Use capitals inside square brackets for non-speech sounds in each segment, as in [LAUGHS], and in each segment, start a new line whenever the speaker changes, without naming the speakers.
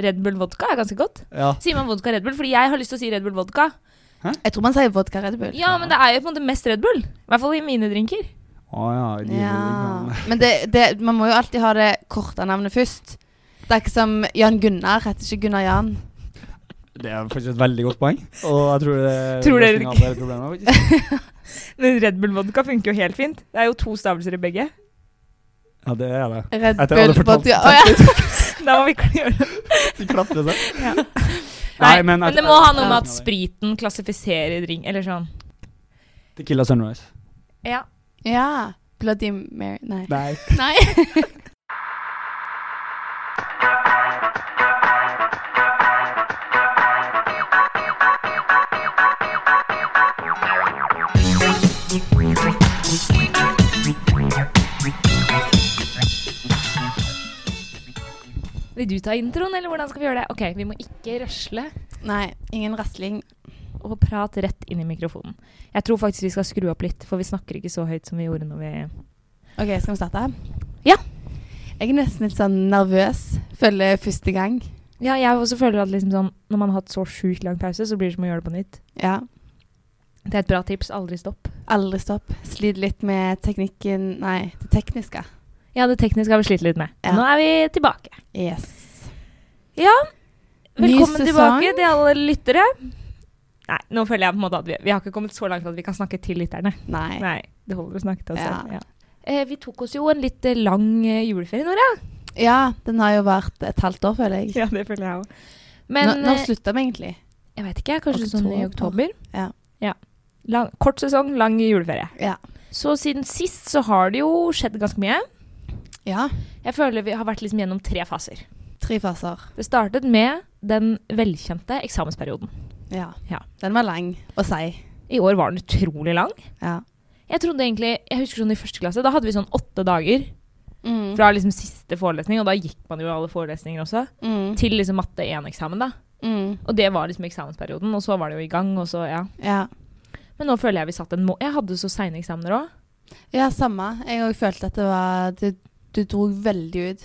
Red Bull vodka er ganske godt.
Ja.
Sier man vodka Red Bull? Fordi jeg har lyst til å si Red Bull vodka.
Jeg tror man sier vodka Red Bull.
Ja, men det er jo på en måte mest Red Bull. I hvert fall i mine drinker.
Å ja. i de
Ja.
reglene.
Men det, det, man må jo alltid ha det korte navnet først. Det er ikke som Jan Gunnar. Heter ikke Gunnar Jan.
Det er faktisk et veldig godt poeng. Og jeg tror det er
[LAUGHS] Tror dere
løsningen på hele problemet, faktisk.
Men Red Bull vodka funker jo helt fint. Det er jo to stavelser i begge.
Ja, det er det.
Red
Etter
Bull
alle fortalte-
vodka. Å, ja.
Da må vi ikke gjøre det.
[LAUGHS] De klapper seg.
Ja.
Nei,
men,
men at-
det må ha noe med at
Ja.
spriten klassifiserer drink, eller sånn.
Tequila Sunrise.
Ja.
ja. Bloody Mary Nei.
Nei.
Nei. [LAUGHS]
Vil du ta introen, eller hvordan skal vi gjøre det? Ok, vi må ikke røsle
Nei. Ingen rasling.
og prate rett inn i mikrofonen. Jeg tror faktisk vi skal skru opp litt, for vi snakker ikke så høyt som vi gjorde når vi
OK, skal vi starte?
Ja.
Jeg er nesten litt sånn nervøs. Føler første gang.
Ja, jeg også føler at liksom sånn, når man har hatt så sjukt lang pause, så blir det som å gjøre det på nytt.
Ja.
Det er et bra tips. Aldri stopp.
Aldri stopp. Sliter litt med teknikken Nei, det tekniske.
Ja, det tekniske har vi slitt litt med.
Ja.
Nå er vi tilbake.
Yes. Ny
Velkommen
sesong.
tilbake til alle lyttere. Nei, nå føler jeg på en måte at vi, vi har ikke kommet så langt at vi kan snakke til lytterne.
Nei.
Nei, det holder å snakke til oss
Ja.
selv. Ja. Eh, vi tok oss jo en litt eh, lang eh, juleferie, Nora.
Ja, den har jo vært et halvt år, føler jeg.
Ja, det føler jeg òg. Men
Men, når, når
eh,
slutta vi egentlig?
jeg vet ikke, kanskje sånn i
Oktober?
oktober?
Ja.
Lang, kort sesong, lang juleferie.
Ja.
Så siden sist så har det jo skjedd ganske mye.
ja.
Jeg føler vi har vært liksom gjennom tre faser.
Tre faser.
Det startet med den velkjente eksamensperioden.
Ja.
Ja.
Den var lang å si.
I år var den utrolig lang.
Ja.
Jeg trodde egentlig, jeg husker sånn i første klasse, da hadde vi sånn åtte dager
Mm.
fra liksom siste forelesning, og da gikk man jo alle forelesninger også,
Mm.
til liksom matte 1-eksamen da.
Mm.
Og det var liksom eksamensperioden, og så var det jo i gang, og så, ja.
Ja.
Men nå føler jeg vi satt en må... Jeg hadde så seine eksamener også.
ja, samme. Jeg òg følte at det var det, Du dro veldig ut.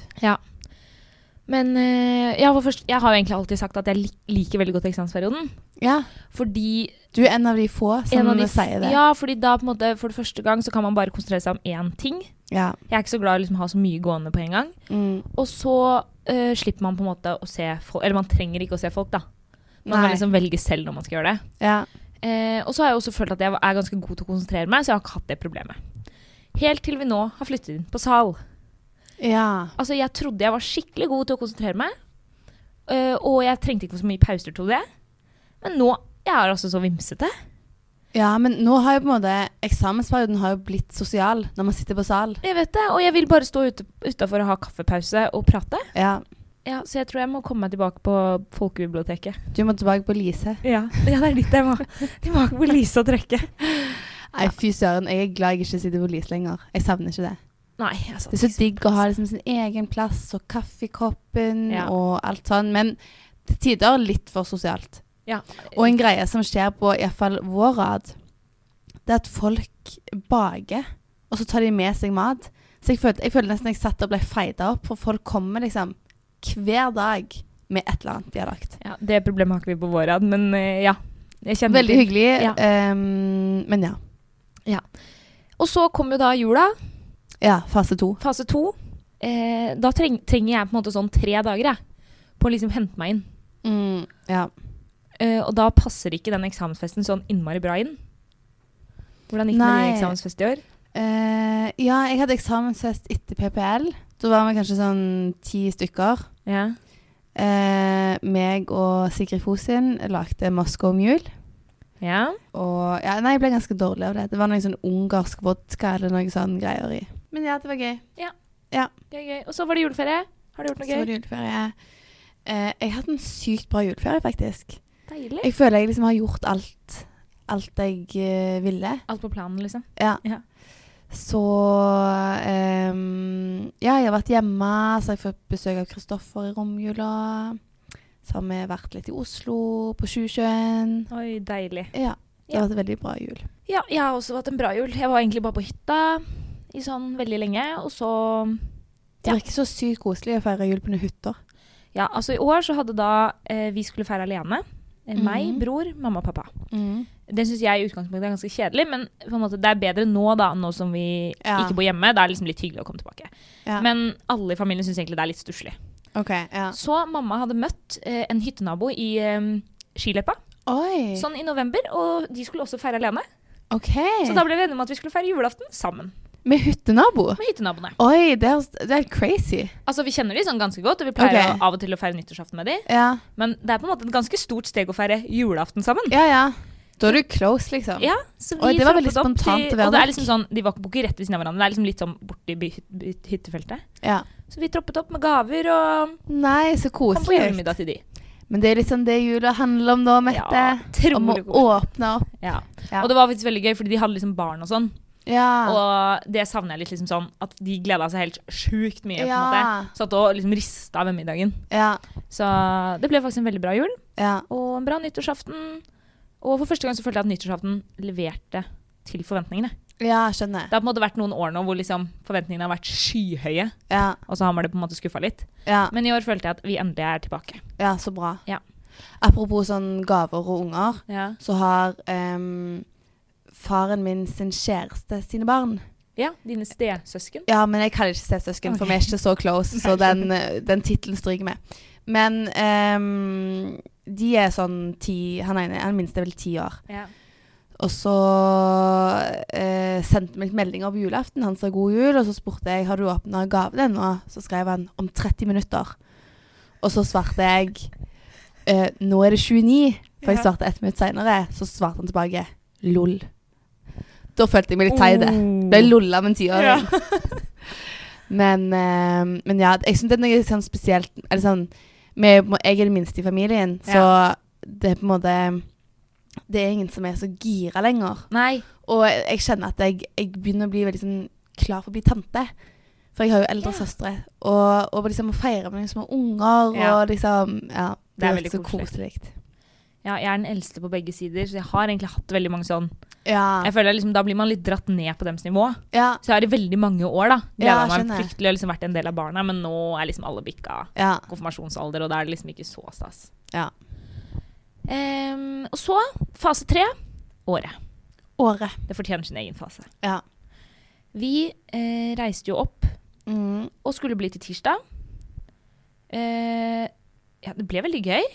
Men eh, jeg, var først, jeg har jo egentlig alltid sagt at jeg lik, liker veldig godt eksamensperioden,
Ja.
fordi
Du er en av de få som
en av de...
sier det.
Ja, fordi da på en måte, for det første gang, så kan man bare konsentrere seg om én ting.
Ja.
Jeg er ikke så glad i liksom, å ha så mye gående på en gang.
Mm.
Og så eh, slipper man på en måte å se folk Eller man trenger ikke å se folk, da. Man
Nei.
kan liksom velge selv når man skal gjøre det.
Ja.
Eh, og så har jeg også følt at jeg er ganske god til å konsentrere meg, så jeg har ikke hatt det problemet. Helt til vi nå har flyttet inn på sal.
ja.
Altså, jeg trodde jeg var skikkelig god til å konsentrere meg, eh, og jeg trengte ikke så mye pauser til det. Men nå jeg er altså så vimsete.
Ja, men nå har jo på en måte eksamensperioden har jo blitt sosial når man sitter på sal.
Jeg vet det, og jeg vil bare stå ute- utafor og ha kaffepause og prate.
Ja.
Ja, så jeg tror jeg må komme meg tilbake på folkebiblioteket.
Du må tilbake på Lise.
[LAUGHS] Ja, det er litt jeg må. Tilbake på Lise og trekke.
Nei, fy søren. Jeg er glad jeg ikke sitter på Lise lenger. Jeg savner ikke det.
Nei, altså. jeg satt
Det er
ikke
så digg å ha liksom sin egen plass og kaffekoppen
Ja.
og alt sånn, men til tider litt for sosialt.
Ja.
Og en greie som skjer på iallfall vår rad, det er at folk baker, og så tar de med seg mat. Så jeg følte, jeg følte nesten jeg satt og ble feida opp, for folk kommer liksom hver dag med et eller annet de har lagt.
Ja, det problemet har ikke vi på vår rad, men eh, ja. Jeg kjenner
Veldig
til-
hyggelig,
Ja.
ehm, men ja.
Og så kom jo da jula,
Ja, fase to.
fase to. Eh, da treng, trenger jeg på en måte sånn tre dager jeg, på å liksom hente meg inn.
Mm, ja.
Eh, og da passer ikke den eksamensfesten sånn innmari bra inn. Hvordan gikk det med
Nei.
din eksamensfest i år?
Eh, ja, jeg hadde eksamensfest etter PPL. Da var vi kanskje sånn ti stykker.
Ja.
Eh, meg og Sigrid Fosin lagde Moscow Mule.
ja.
Og ja, nei, jeg ble ganske dårlig av det. Det var noe sånn ungarsk vodka eller noe sånn greier i. Men ja, det var gøy.
Gøy, gøy. Og så var det juleferie. Har du gjort
Så
noe gøy?
var det juleferie. Eh, jeg hadde en sykt bra juleferie, faktisk.
Deilig.
Jeg føler jeg liksom har gjort alt, alt jeg eh, ville.
Alt på planen, liksom.
Ja.
Ja.
Så ehm, Ja, jeg har vært hjemme, så har jeg fått besøk av Kristoffer i romjula. Så har vi vært litt i Oslo, på 2021.
Oi, deilig.
Ja. Det har vært en veldig bra jul.
Ja, jeg har også hatt en bra jul. Jeg var egentlig bare på hytta i sånn veldig lenge, og så
Det virker så sykt koselig å feire jul på noen hytter.
Ja, altså i år så hadde da eh, vi skulle feire alene. Eh, Meg,
Mhm.
bror, mamma og pappa.
Mm.
Den syns jeg i utgangspunktet er ganske kjedelig, men på en måte det er bedre nå da, nå som vi
Ja.
ikke bor hjemme. Det er liksom litt hyggelig å komme tilbake.
Ja.
Men alle i familien syns egentlig det er litt stusslig.
OK. Ja.
Så mamma hadde møtt eh, en hyttenabo i eh, skiløypa,
Oi.
sånn i november, og de skulle også feire alene.
OK.
Så da ble vi enige om at vi skulle feire julaften sammen
Med hyttenabo?
med hyttenaboene.
Oi, det er, det er crazy.
Altså Vi kjenner de sånn ganske godt, og vi pleier
Ok.
å, av og til å feire nyttårsaften med de.
Ja.
Men det er på en måte et ganske stort steg å feire julaften sammen.
ja, ja. Da er du close, liksom.
Ja, så vi
Oi, det var veldig
troppet opp til-
spontant
Og
og
det er
velvalgt.
liksom sånn, De var ikke bor ikke rett ved siden av hverandre, det er liksom litt sånn borti by, by, hyttefeltet.
Ja.
Så vi troppet opp med gaver og
Nei, så
kom på
koselig.
julemiddag til de.
Men det er liksom det jula handler om da, Mette.
Ja, utrolig
om å
koselig.
åpne opp.
Ja.
Ja. Ah.
Og det var faktisk veldig gøy, fordi de hadde liksom barn og sånn.
Ja.
Og det savner jeg litt, liksom sånn at de gleda seg helt sjukt mye. på en måte.
Ja.
Satt og liksom rista ved middagen.
Ja.
Så det ble faktisk en veldig bra jul,
ja.
og en bra nyttårsaften. Og for første gang så følte jeg at nyttårsaften leverte til forventningene.
Ja, skjønner.
Det har på en måte vært noen år nå hvor liksom forventningene har vært skyhøye,
Ja,
og så har man det på en måte skuffa litt.
ja,
Men i år følte jeg at vi endelig er tilbake.
ja, så bra.
Ja.
Apropos sånn gaver og unger,
Ja.
så har em, faren min sin kjæreste sine barn.
Dine stesøsken.
Ja, men jeg kaller det ikke stesøsken, for
Ok.
vi er ikke så close, så den, eh, den tittelen stryker vi. Men em, de er sånn ti Han ene, han minste er vel ti år.
Ja.
Og så eh, sendte han meg meldinger på julaften. Han sa god jul, og så spurte jeg har du åpna gaven ennå. Så skrev han om 30 minutter. Og så svarte jeg eh, nå er det 29, for jeg
Ja.
svarte ett minutt seinere. Så svarte han tilbake lol. Da følte jeg meg litt teit.
Oh.
Ble
Mm.
lolla av en tiåring. [LAUGHS] Men, eh, men ja, jeg syns det er noe sånn spesielt eller sånn, vi er jo på en må- Jeg er den minste i familien, så det er på en måte Det er ingen som er så gira lenger.
Nei.
Og jeg, jeg kjenner at jeg, jeg begynner å bli veldig sånn klar for å bli tante. For jeg har jo eldre
Ja.
søstre. Og, og liksom å feire med noen som har unger
Ja.
og liksom Ja.
Det er
jo
veldig
så
koselig.
koselig.
Ja, jeg er den eldste på begge sider, så jeg har egentlig hatt veldig mange sånn.
Ja.
Jeg føler liksom, Da blir man litt dratt ned på deres nivå.
Ja.
Så jeg har i veldig mange år da gleda
Ja,
meg
skjønner jeg.
fryktelig og liksom vært en del av barna, men nå er liksom alle bikka
Ja.
konfirmasjonsalder, og da er det liksom ikke så stas.
Ja.
Ehm, og så, fase tre året.
Året.
Det fortjener sin egen fase.
Ja.
Vi eh, reiste jo opp
Mm.
og skulle bli til tirsdag. Eh, ja, det ble veldig gøy.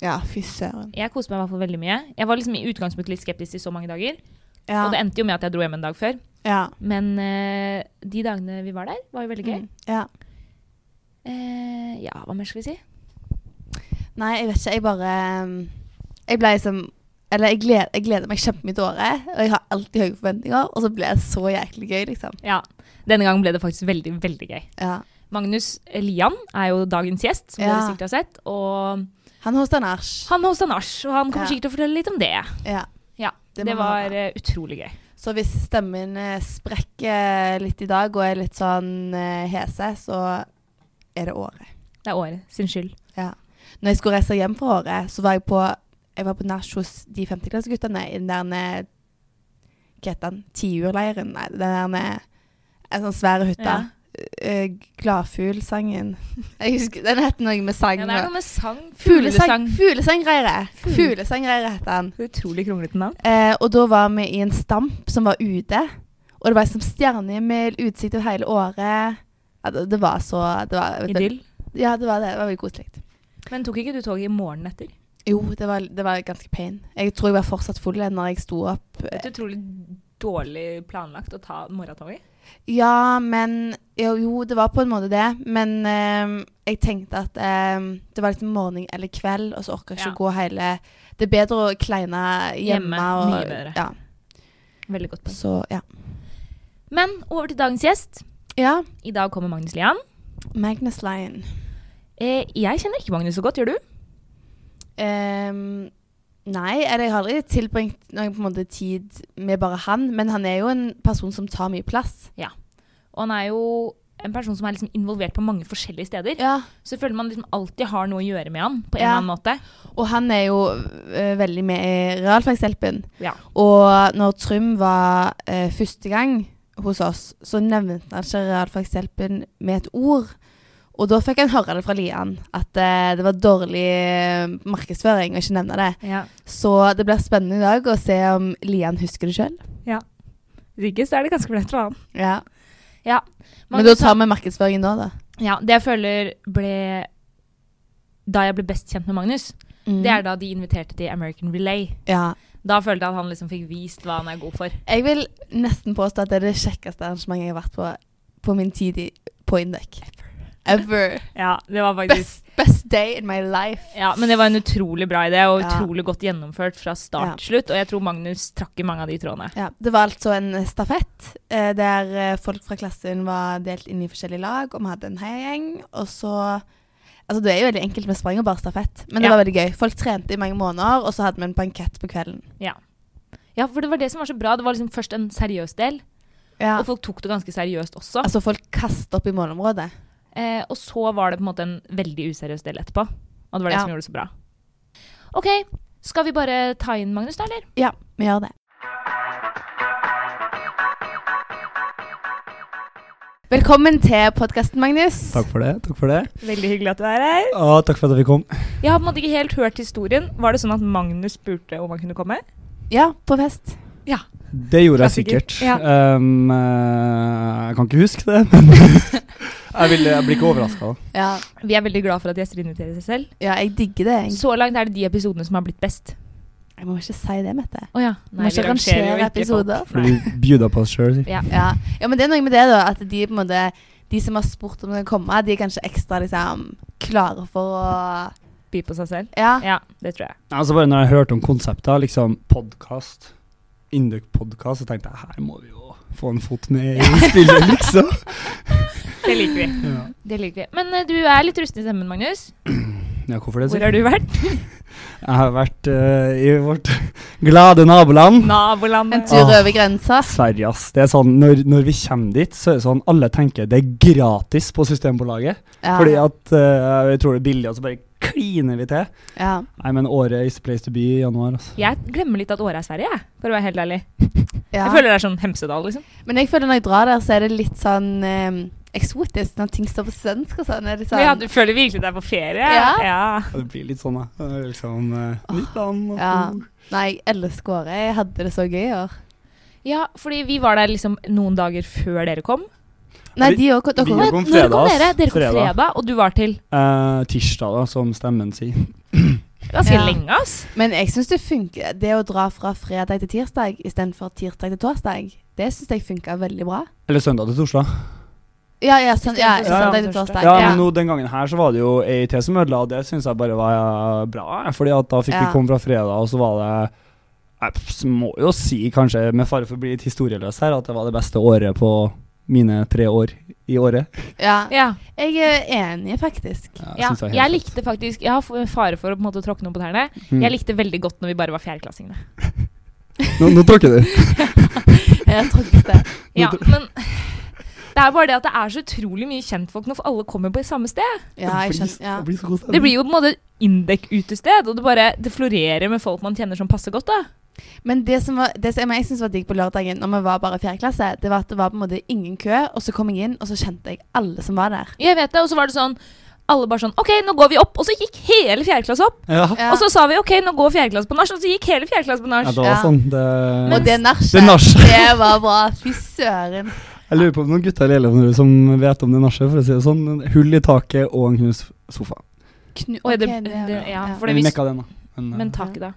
Ja, fy søren.
Jeg koste meg i hvert fall veldig mye. Jeg var liksom i utgangspunktet litt skeptisk i så mange dager,
Ja. Mm.
og det endte jo med at jeg dro hjem en dag før.
ja.
Men eh, de dagene vi var der, var jo veldig gøy.
Mm. Ja.
Eh, ja, hva mer skal vi si?
Nei, jeg vet ikke. Jeg bare um, Jeg ble liksom Eller jeg gleder, jeg gleder meg kjempemye til året, og jeg har alltid høye forventninger, og så ble det så jæklig gøy, liksom.
Ja, Denne gangen ble det faktisk veldig veldig gøy.
Ja.
Magnus Lian er jo dagens gjest, som
Ja.
dere sikkert har sett. Og
Han hosta nach.
han hosta nach, og han kommer
Ja.
sikkert til å fortelle litt om det.
Ja.
Ja,
Det
Det,
må han
var eh, utrolig gøy.
Så hvis stemmen eh, sprekker eh, litt i dag og er litt sånn eh, hese, så er det året.
Det er året sin skyld.
Når jeg skulle reise hjem fra året, så var jeg på jeg var på nach hos de femteklasseguttene i den der eh, Hva heter den? Tiurleiren? Nei, den der eh, En sånn svær hytte.
Ja.
Eh, Gladfuglsangen. [LAUGHS] Jeg husker, den heter noe med sang.
Ja, det er noe med sang.
Fuglesang.
Fuglesang.
Fuglesangreire.
Fugle-
Fuglesangreire heter den.
Utrolig kronglete navn.
Eh, og da var vi i en stamp som var ute. Og det var som stjernehimmel, utsikt over hele året. Ja, det, det var så det var,
Idyll.
Ja, det var det. Det var veldig koselig.
Men tok ikke du toget i morgen etter?
Jo, det var, det var ganske pain. Jeg tror jeg var fortsatt full når jeg sto opp. eh,
Det er utrolig dårlig planlagt å ta morgentoget.
Ja, men Jo, jo det var på en måte det. Men ehm, jeg tenkte at ehm, det var liksom morgen eller kveld, og så orker jeg ikke
Ja.
å gå hele Det er bedre å kleine hjemme.
Hjemme,
og,
mye bedre.
Ja,
Veldig godt poeng.
så ja.
Men over til dagens gjest.
Ja,
I dag kommer Magnus Lian.
Magnus Lion.
Eh, jeg kjenner ikke Magnus så godt, gjør du?
Ehm, nei, eller jeg har aldri tilbringt noen på en måte tid med bare han, men han er jo en person som tar mye plass.
Og han er jo en person som er liksom involvert på mange forskjellige steder.
Ja.
Så jeg føler man liksom alltid har noe å gjøre med han på en
Ja.
eller annen måte.
Og han er jo eh, veldig med i Realfagshjelpen.
Ja.
Og når Trym var eh, første gang hos oss, så nevnte han ikke Realfagshjelpen med et ord. Og da fikk han høre det fra Lian, at eh, det var dårlig eh, markedsføring å ikke nevne det.
Ja.
Så det blir spennende i dag å se om Lian husker det sjøl.
Hvis ikke, så er det ganske flaut for han.
Ja. Men da
Magnus
tar vi markedsføringen nå, da.
har- Ja, det jeg føler ble Da jeg ble best kjent med Magnus,
Mm.
det er da de inviterte til American Relay.
Ja.
Da følte jeg at han liksom fikk vist hva han er god for.
Jeg vil nesten påstå at det er det kjekkeste arrangementet jeg har vært på på min tid i, på Indec.
[LAUGHS]
Ever.
Ja, det var faktisk
[LAUGHS] Best, best day in my life.
ja, Men det var en utrolig bra idé, og
Ja.
utrolig godt gjennomført fra
Ja.
start til slutt. Og jeg tror Magnus trakk i mange av de trådene.
Ja, det var altså en stafett eh, der eh, folk fra klassen var delt inn i forskjellige lag, og vi hadde en heiagjeng. Og så Altså, det er jo veldig enkelt, vi sprang jo bare stafett, men det
Ja.
var veldig gøy. Folk trente i mange måneder, og så hadde vi en bankett på kvelden.
Ja, for det var det som var så bra. Det var liksom først en seriøs del, og folk tok det ganske seriøst også.
Altså, folk kastet opp i målområdet.
Eh, og så var det på en måte en veldig useriøs del etterpå. Og det var det
Ja.
som gjorde det så bra. OK, skal vi bare ta inn Magnus, da, eller?
Ja, vi gjør det. Velkommen til podkasten, Magnus.
Takk for det. takk for det.
Veldig hyggelig at du er her.
Og takk for at jeg fikk komme.
Jeg har på en måte ikke helt hørt historien. Var det sånn at Magnus spurte om han kunne komme?
Ja, på fest.
Det gjorde jeg
Klassiker.
sikkert.
Ja.
Um, eh, jeg kan ikke huske det, [LAUGHS] men jeg, vil, jeg blir ikke overraska.
Ja,
Vi er veldig glad for at gjester inviterer seg selv.
ja jeg digger det. egentlig.
Så langt er det de episodene som har blitt best.
Jeg må ikke si det, Mette.
Å ja.
Må ikke rangere episoder.
Fordi vi bjuda på oss sjøl.
Ja.
Ja. ja, men det er noe med det, da. At de, på en måte, de som har spurt om de kan komme, de er kanskje ekstra liksom, klare for å
By på seg selv.
Ja.
Ja, det tror jeg.
Altså bare når jeg hørte om konseptet, liksom podkast, Induc-podkast, så tenkte jeg her må vi jo få en fot med
[LAUGHS]
i spillet, liksom.
Det liker vi.
Ja,
[LAUGHS] Det liker vi. Men eh, du er litt rusten i stemmen, Magnus.
ja hvorfor det?
Hvor har du vært?
Jeg har vært eh, i vårt [LAUGHS] glade naboland.
En
Nabolandet.
tur
Åh.
over grensa.
Sverige, ass. Det er sånn, når, når vi kommer dit, så er det sånn alle tenker det er gratis på Systembolaget.
Ja.
Fordi at eh, jeg tror det er billig, og så bare kliner vi til.
ja.
Nei, men året is the place to be i januar, altså.
Jeg glemmer litt at Åre er Sverige, jeg, for å være helt ærlig.
Ja.
Jeg føler det er sånn Hemsedal, liksom.
Men jeg føler når jeg drar der, så er det litt sånn eh, eksotisk når ting står på svensk og sånn. Er det sånn
Ja, du føler virkelig deg på ferie.
Ja.
Ja, Det blir litt sånn, da. Det er Liksom, eh, nytt land. og- sånn.
Ja. Nei, jeg elsker året. Jeg hadde det så gøy i år.
Ja, fordi vi var der liksom noen dager før dere kom.
Nei,
Vi-
de òg. Dere
vi-
kom.
Dere kom
Når
fredag,
kom
ass.
dere? Dere kom
Fredag.
fredag, og du var til
Eh, tirsdag, da, som stemmen sier.
ganske
Ja.
lenge, ass.
Men jeg syns det funker. Det å dra fra fredag til tirsdag istedenfor tirsdag til torsdag, det syns jeg funka veldig bra.
Eller søndag til torsdag.
Ja, ja, sånn, ja,
Istedenfor
søndag
søndag til
til torsdag.
Ja,
ja.
men nå, Den gangen her så var det jo EIT som ødela, og det syns jeg bare var eh, bra. Fordi at da fikk
Ja.
vi komme fra fredag, og så var det Jeg f- må jo si, kanskje med fare for å bli litt historieløs her, at det var det beste året på mine tre år i året.
Ja.
Ja.
Jeg er enig,
[LAUGHS]
faktisk.
Ja,
synes det var helt
jeg
fett.
likte faktisk Jeg har f- fare for å på en måte tråkke noen på tærne.
Mm.
Jeg likte veldig godt når vi bare var fjerdeklassingene.
Nå, nå tråkker du.
Jeg trodde det.
Ja, men [LAUGHS] det er bare det at det er så utrolig mye kjentfolk når alle kommer på samme sted.
Ja, jeg skjønner. Ja.
Det blir så god stemning.
Det blir jo på en måte Indek-utested, og det bare det florerer med folk man kjenner som passer godt, da.
Men det som, var, det som jeg syns var digg på lørdagen, når vi var bare i fjerde klasse, det var at det var på en måte ingen kø, og så kom jeg inn, og så kjente jeg alle som var der.
Jeg vet det, og så var det sånn alle bare sånn OK, nå går vi opp. Og så gikk hele fjerdeklasse opp.
Ja. ja,
Ja.
Og så sa vi OK, nå går fjerdeklasse på nach, og så gikk hele fjerdeklasse på nach.
det var
Ja.
sånn. Det,
og det nachet,
Det nachet.
det var bra. Fy søren.
jeg lurer på om noen gutter i Lillehammer som vet om det nachet, for å si det sånn. Hull i taket og en knust sofa.
Knu
Oi, det-
ok, det-
det- ja, for det-
Vi
visst-
mekka den, da. Men, eh,
Men taket, da.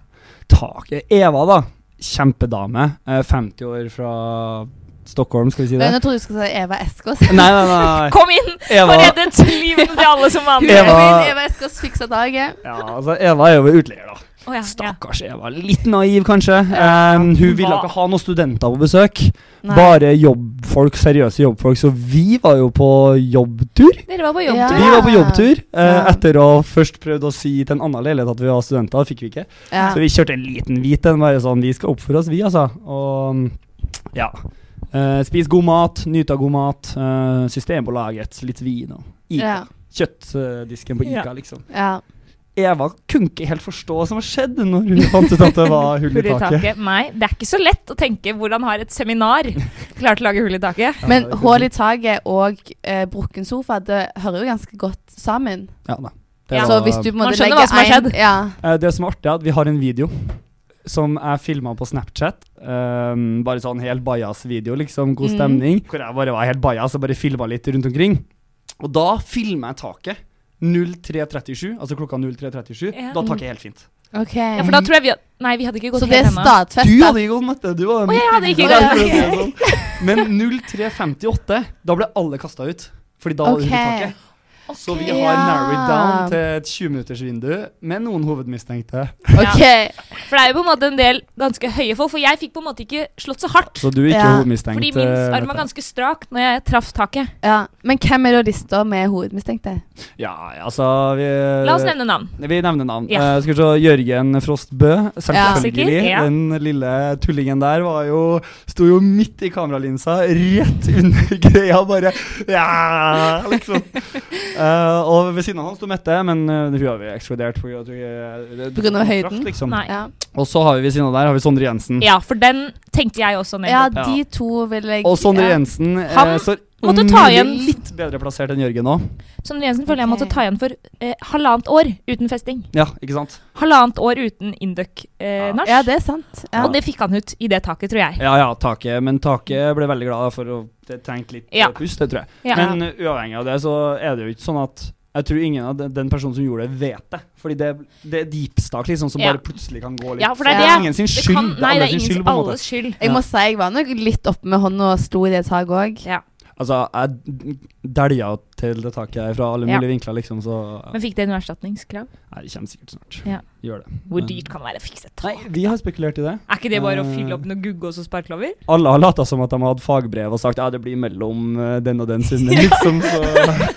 taket. Eva, da. Kjempedame. eh, 50 år fra Stockholm, skal vi si
Men
det?
Nå trodde jeg du skulle si Eva Eskås.
Nei, nei, nei.
[LAUGHS] Kom inn og
Eva,
reddet livene til alle som var
[LAUGHS] Hun
med.
Eva-
Eva, Eva Eskås fiksa dagen.
ja, altså, Eva er jo utleier, da.
Å ja, ja.
Stakkars Eva. Litt naiv, kanskje.
Ja,
Eh, hun ville
hva-
ikke ha noen studenter på besøk.
Nei.
Bare jobbfolk, seriøse jobbfolk. Så vi var jo på jobbtur.
Dere var på
Ja.
jobbtur.
Vi var på jobbtur eh,
Ja.
etter å først prøvd å si til en annen leilighet at vi var studenter. Det fikk vi ikke.
Ja.
Så vi kjørte en liten hvit en. Bare sånn, vi skal oppføre oss, vi, altså. Og mm, ja. Eh, spis god mat, nyt av god mat. Eh, Systembolaget, litt vin og Ica.
Ja.
Kjøttdisken på Ica,
Ja.
liksom.
Ja.
Eva kunne ikke helt forstå hva som skjedde når hun fant ut at det var hull i taket.
Nei, det er ikke så lett å tenke hvordan har et seminar klart å lage hull i taket.
Men hull i taket og eh, brukken sofa det hører jo ganske godt sammen.
Ja, da.
Ja.
Så hvis du på en
Man
måte
skjønner hva som har
legger en-
skjedd.
Ja.
Eh, Det som er artig, er at vi har en video som jeg filma på Snapchat. Ehm, bare sånn helt bajas-video, liksom. God
Mm.
stemning. Hvor jeg bare var helt bajas og bare filma litt rundt omkring. Og da filmer jeg taket. 03.37, altså klokka 03.37.
Ja.
Da er taket helt fint.
Ok.
Ja, for da tror jeg vi Nei, vi hadde ikke gått
så det er
helt ennå.
Du
stadfesta.
hadde ikke gått matte! Du var
Å, jeg hadde ikke
Ja,
gått.
for å [LAUGHS] si det sånn. Men 03.58, da ble alle kasta ut. Fordi da var
Ok.
okay. taket. Så vi
Ok.
har
Ja.
narrowed down til et 20-minuttersvindu med noen hovedmistenkte.
Ok.
For det er jo på en måte en del ganske høye folk. For jeg fikk på en måte ikke slått så hardt.
Så du er ikke
Ja.
hovedmistenkt?
Fordi min
eh,
arm
vet
var
jeg.
ganske strak når jeg traff taket.
Ja. Men hvem er da lista med hovedmistenkte?
Ja, altså vi,
La oss nevne navn.
Vi nevner navn.
Ja.
Eh, skal vi se Jørgen Frostbø, selvfølgelig.
Klassiker, ja.
Den lille tullingen der var jo Sto jo midt i kameralinsa, rett under [LAUGHS] greia, bare Ja,
[LAUGHS]
liksom. Eh, og ved siden av han sto Mette, men eh, hun har vi eh, ekskludert pga.
På grunn av høyden?
Liksom.
Nei.
Ja.
Og så har vi ved siden av der har vi Sondre Jensen.
Ja, for den tenkte jeg også ned.
ja,
på.
de to vil jeg
Og Sondre
ja.
Jensen eh,
Han
står
måtte ta
mye
igjen-
litt bedre plassert enn Jørgen òg.
Sondre Jensen føler jeg måtte
Ok.
ta igjen for eh, halvannet år uten festing.
Ja, ikke sant?
Halvannet år uten induck-nach. Eh,
Ja.
nach.
Ja, det er sant. Ja.
Og det fikk han ut i det taket, tror jeg.
Ja ja, taket. Men taket ble veldig glad for å det trengte litt
Ja.
eh, pust, det tror jeg.
Ja.
Men uh, uavhengig av det, så er det jo ikke sånn at jeg tror ingen av den, den personen som gjorde det, vet det. Fordi det, det er deepstak liksom, som
Ja.
bare plutselig kan gå litt.
Ja, for det
er
Så
det-
ingen sin
Det
skyld.
kan, nei, det er
andres
ingen
skyld, på en måte.
alles skyld.
Jeg må si jeg var nok litt oppe med hånda og slo i det taket òg.
Ja.
Altså, jeg dælja til det taket her fra alle
Ja.
mulige vinkler, liksom, så
Men fikk det noe erstatningskrav?
Nei, det kommer sikkert snart.
Ja.
Gjør det.
Hvor
Men-
dyrt kan det være å fikse et
Nei,
tak?
vi har spekulert i det.
Er ikke det bare å
Eh.
fylle opp noe gugg og så sparklover?
Alle har lata som at de hadde fagbrev og sagt ja, det blir mellom eh, den og den siden, [LAUGHS] liksom. Så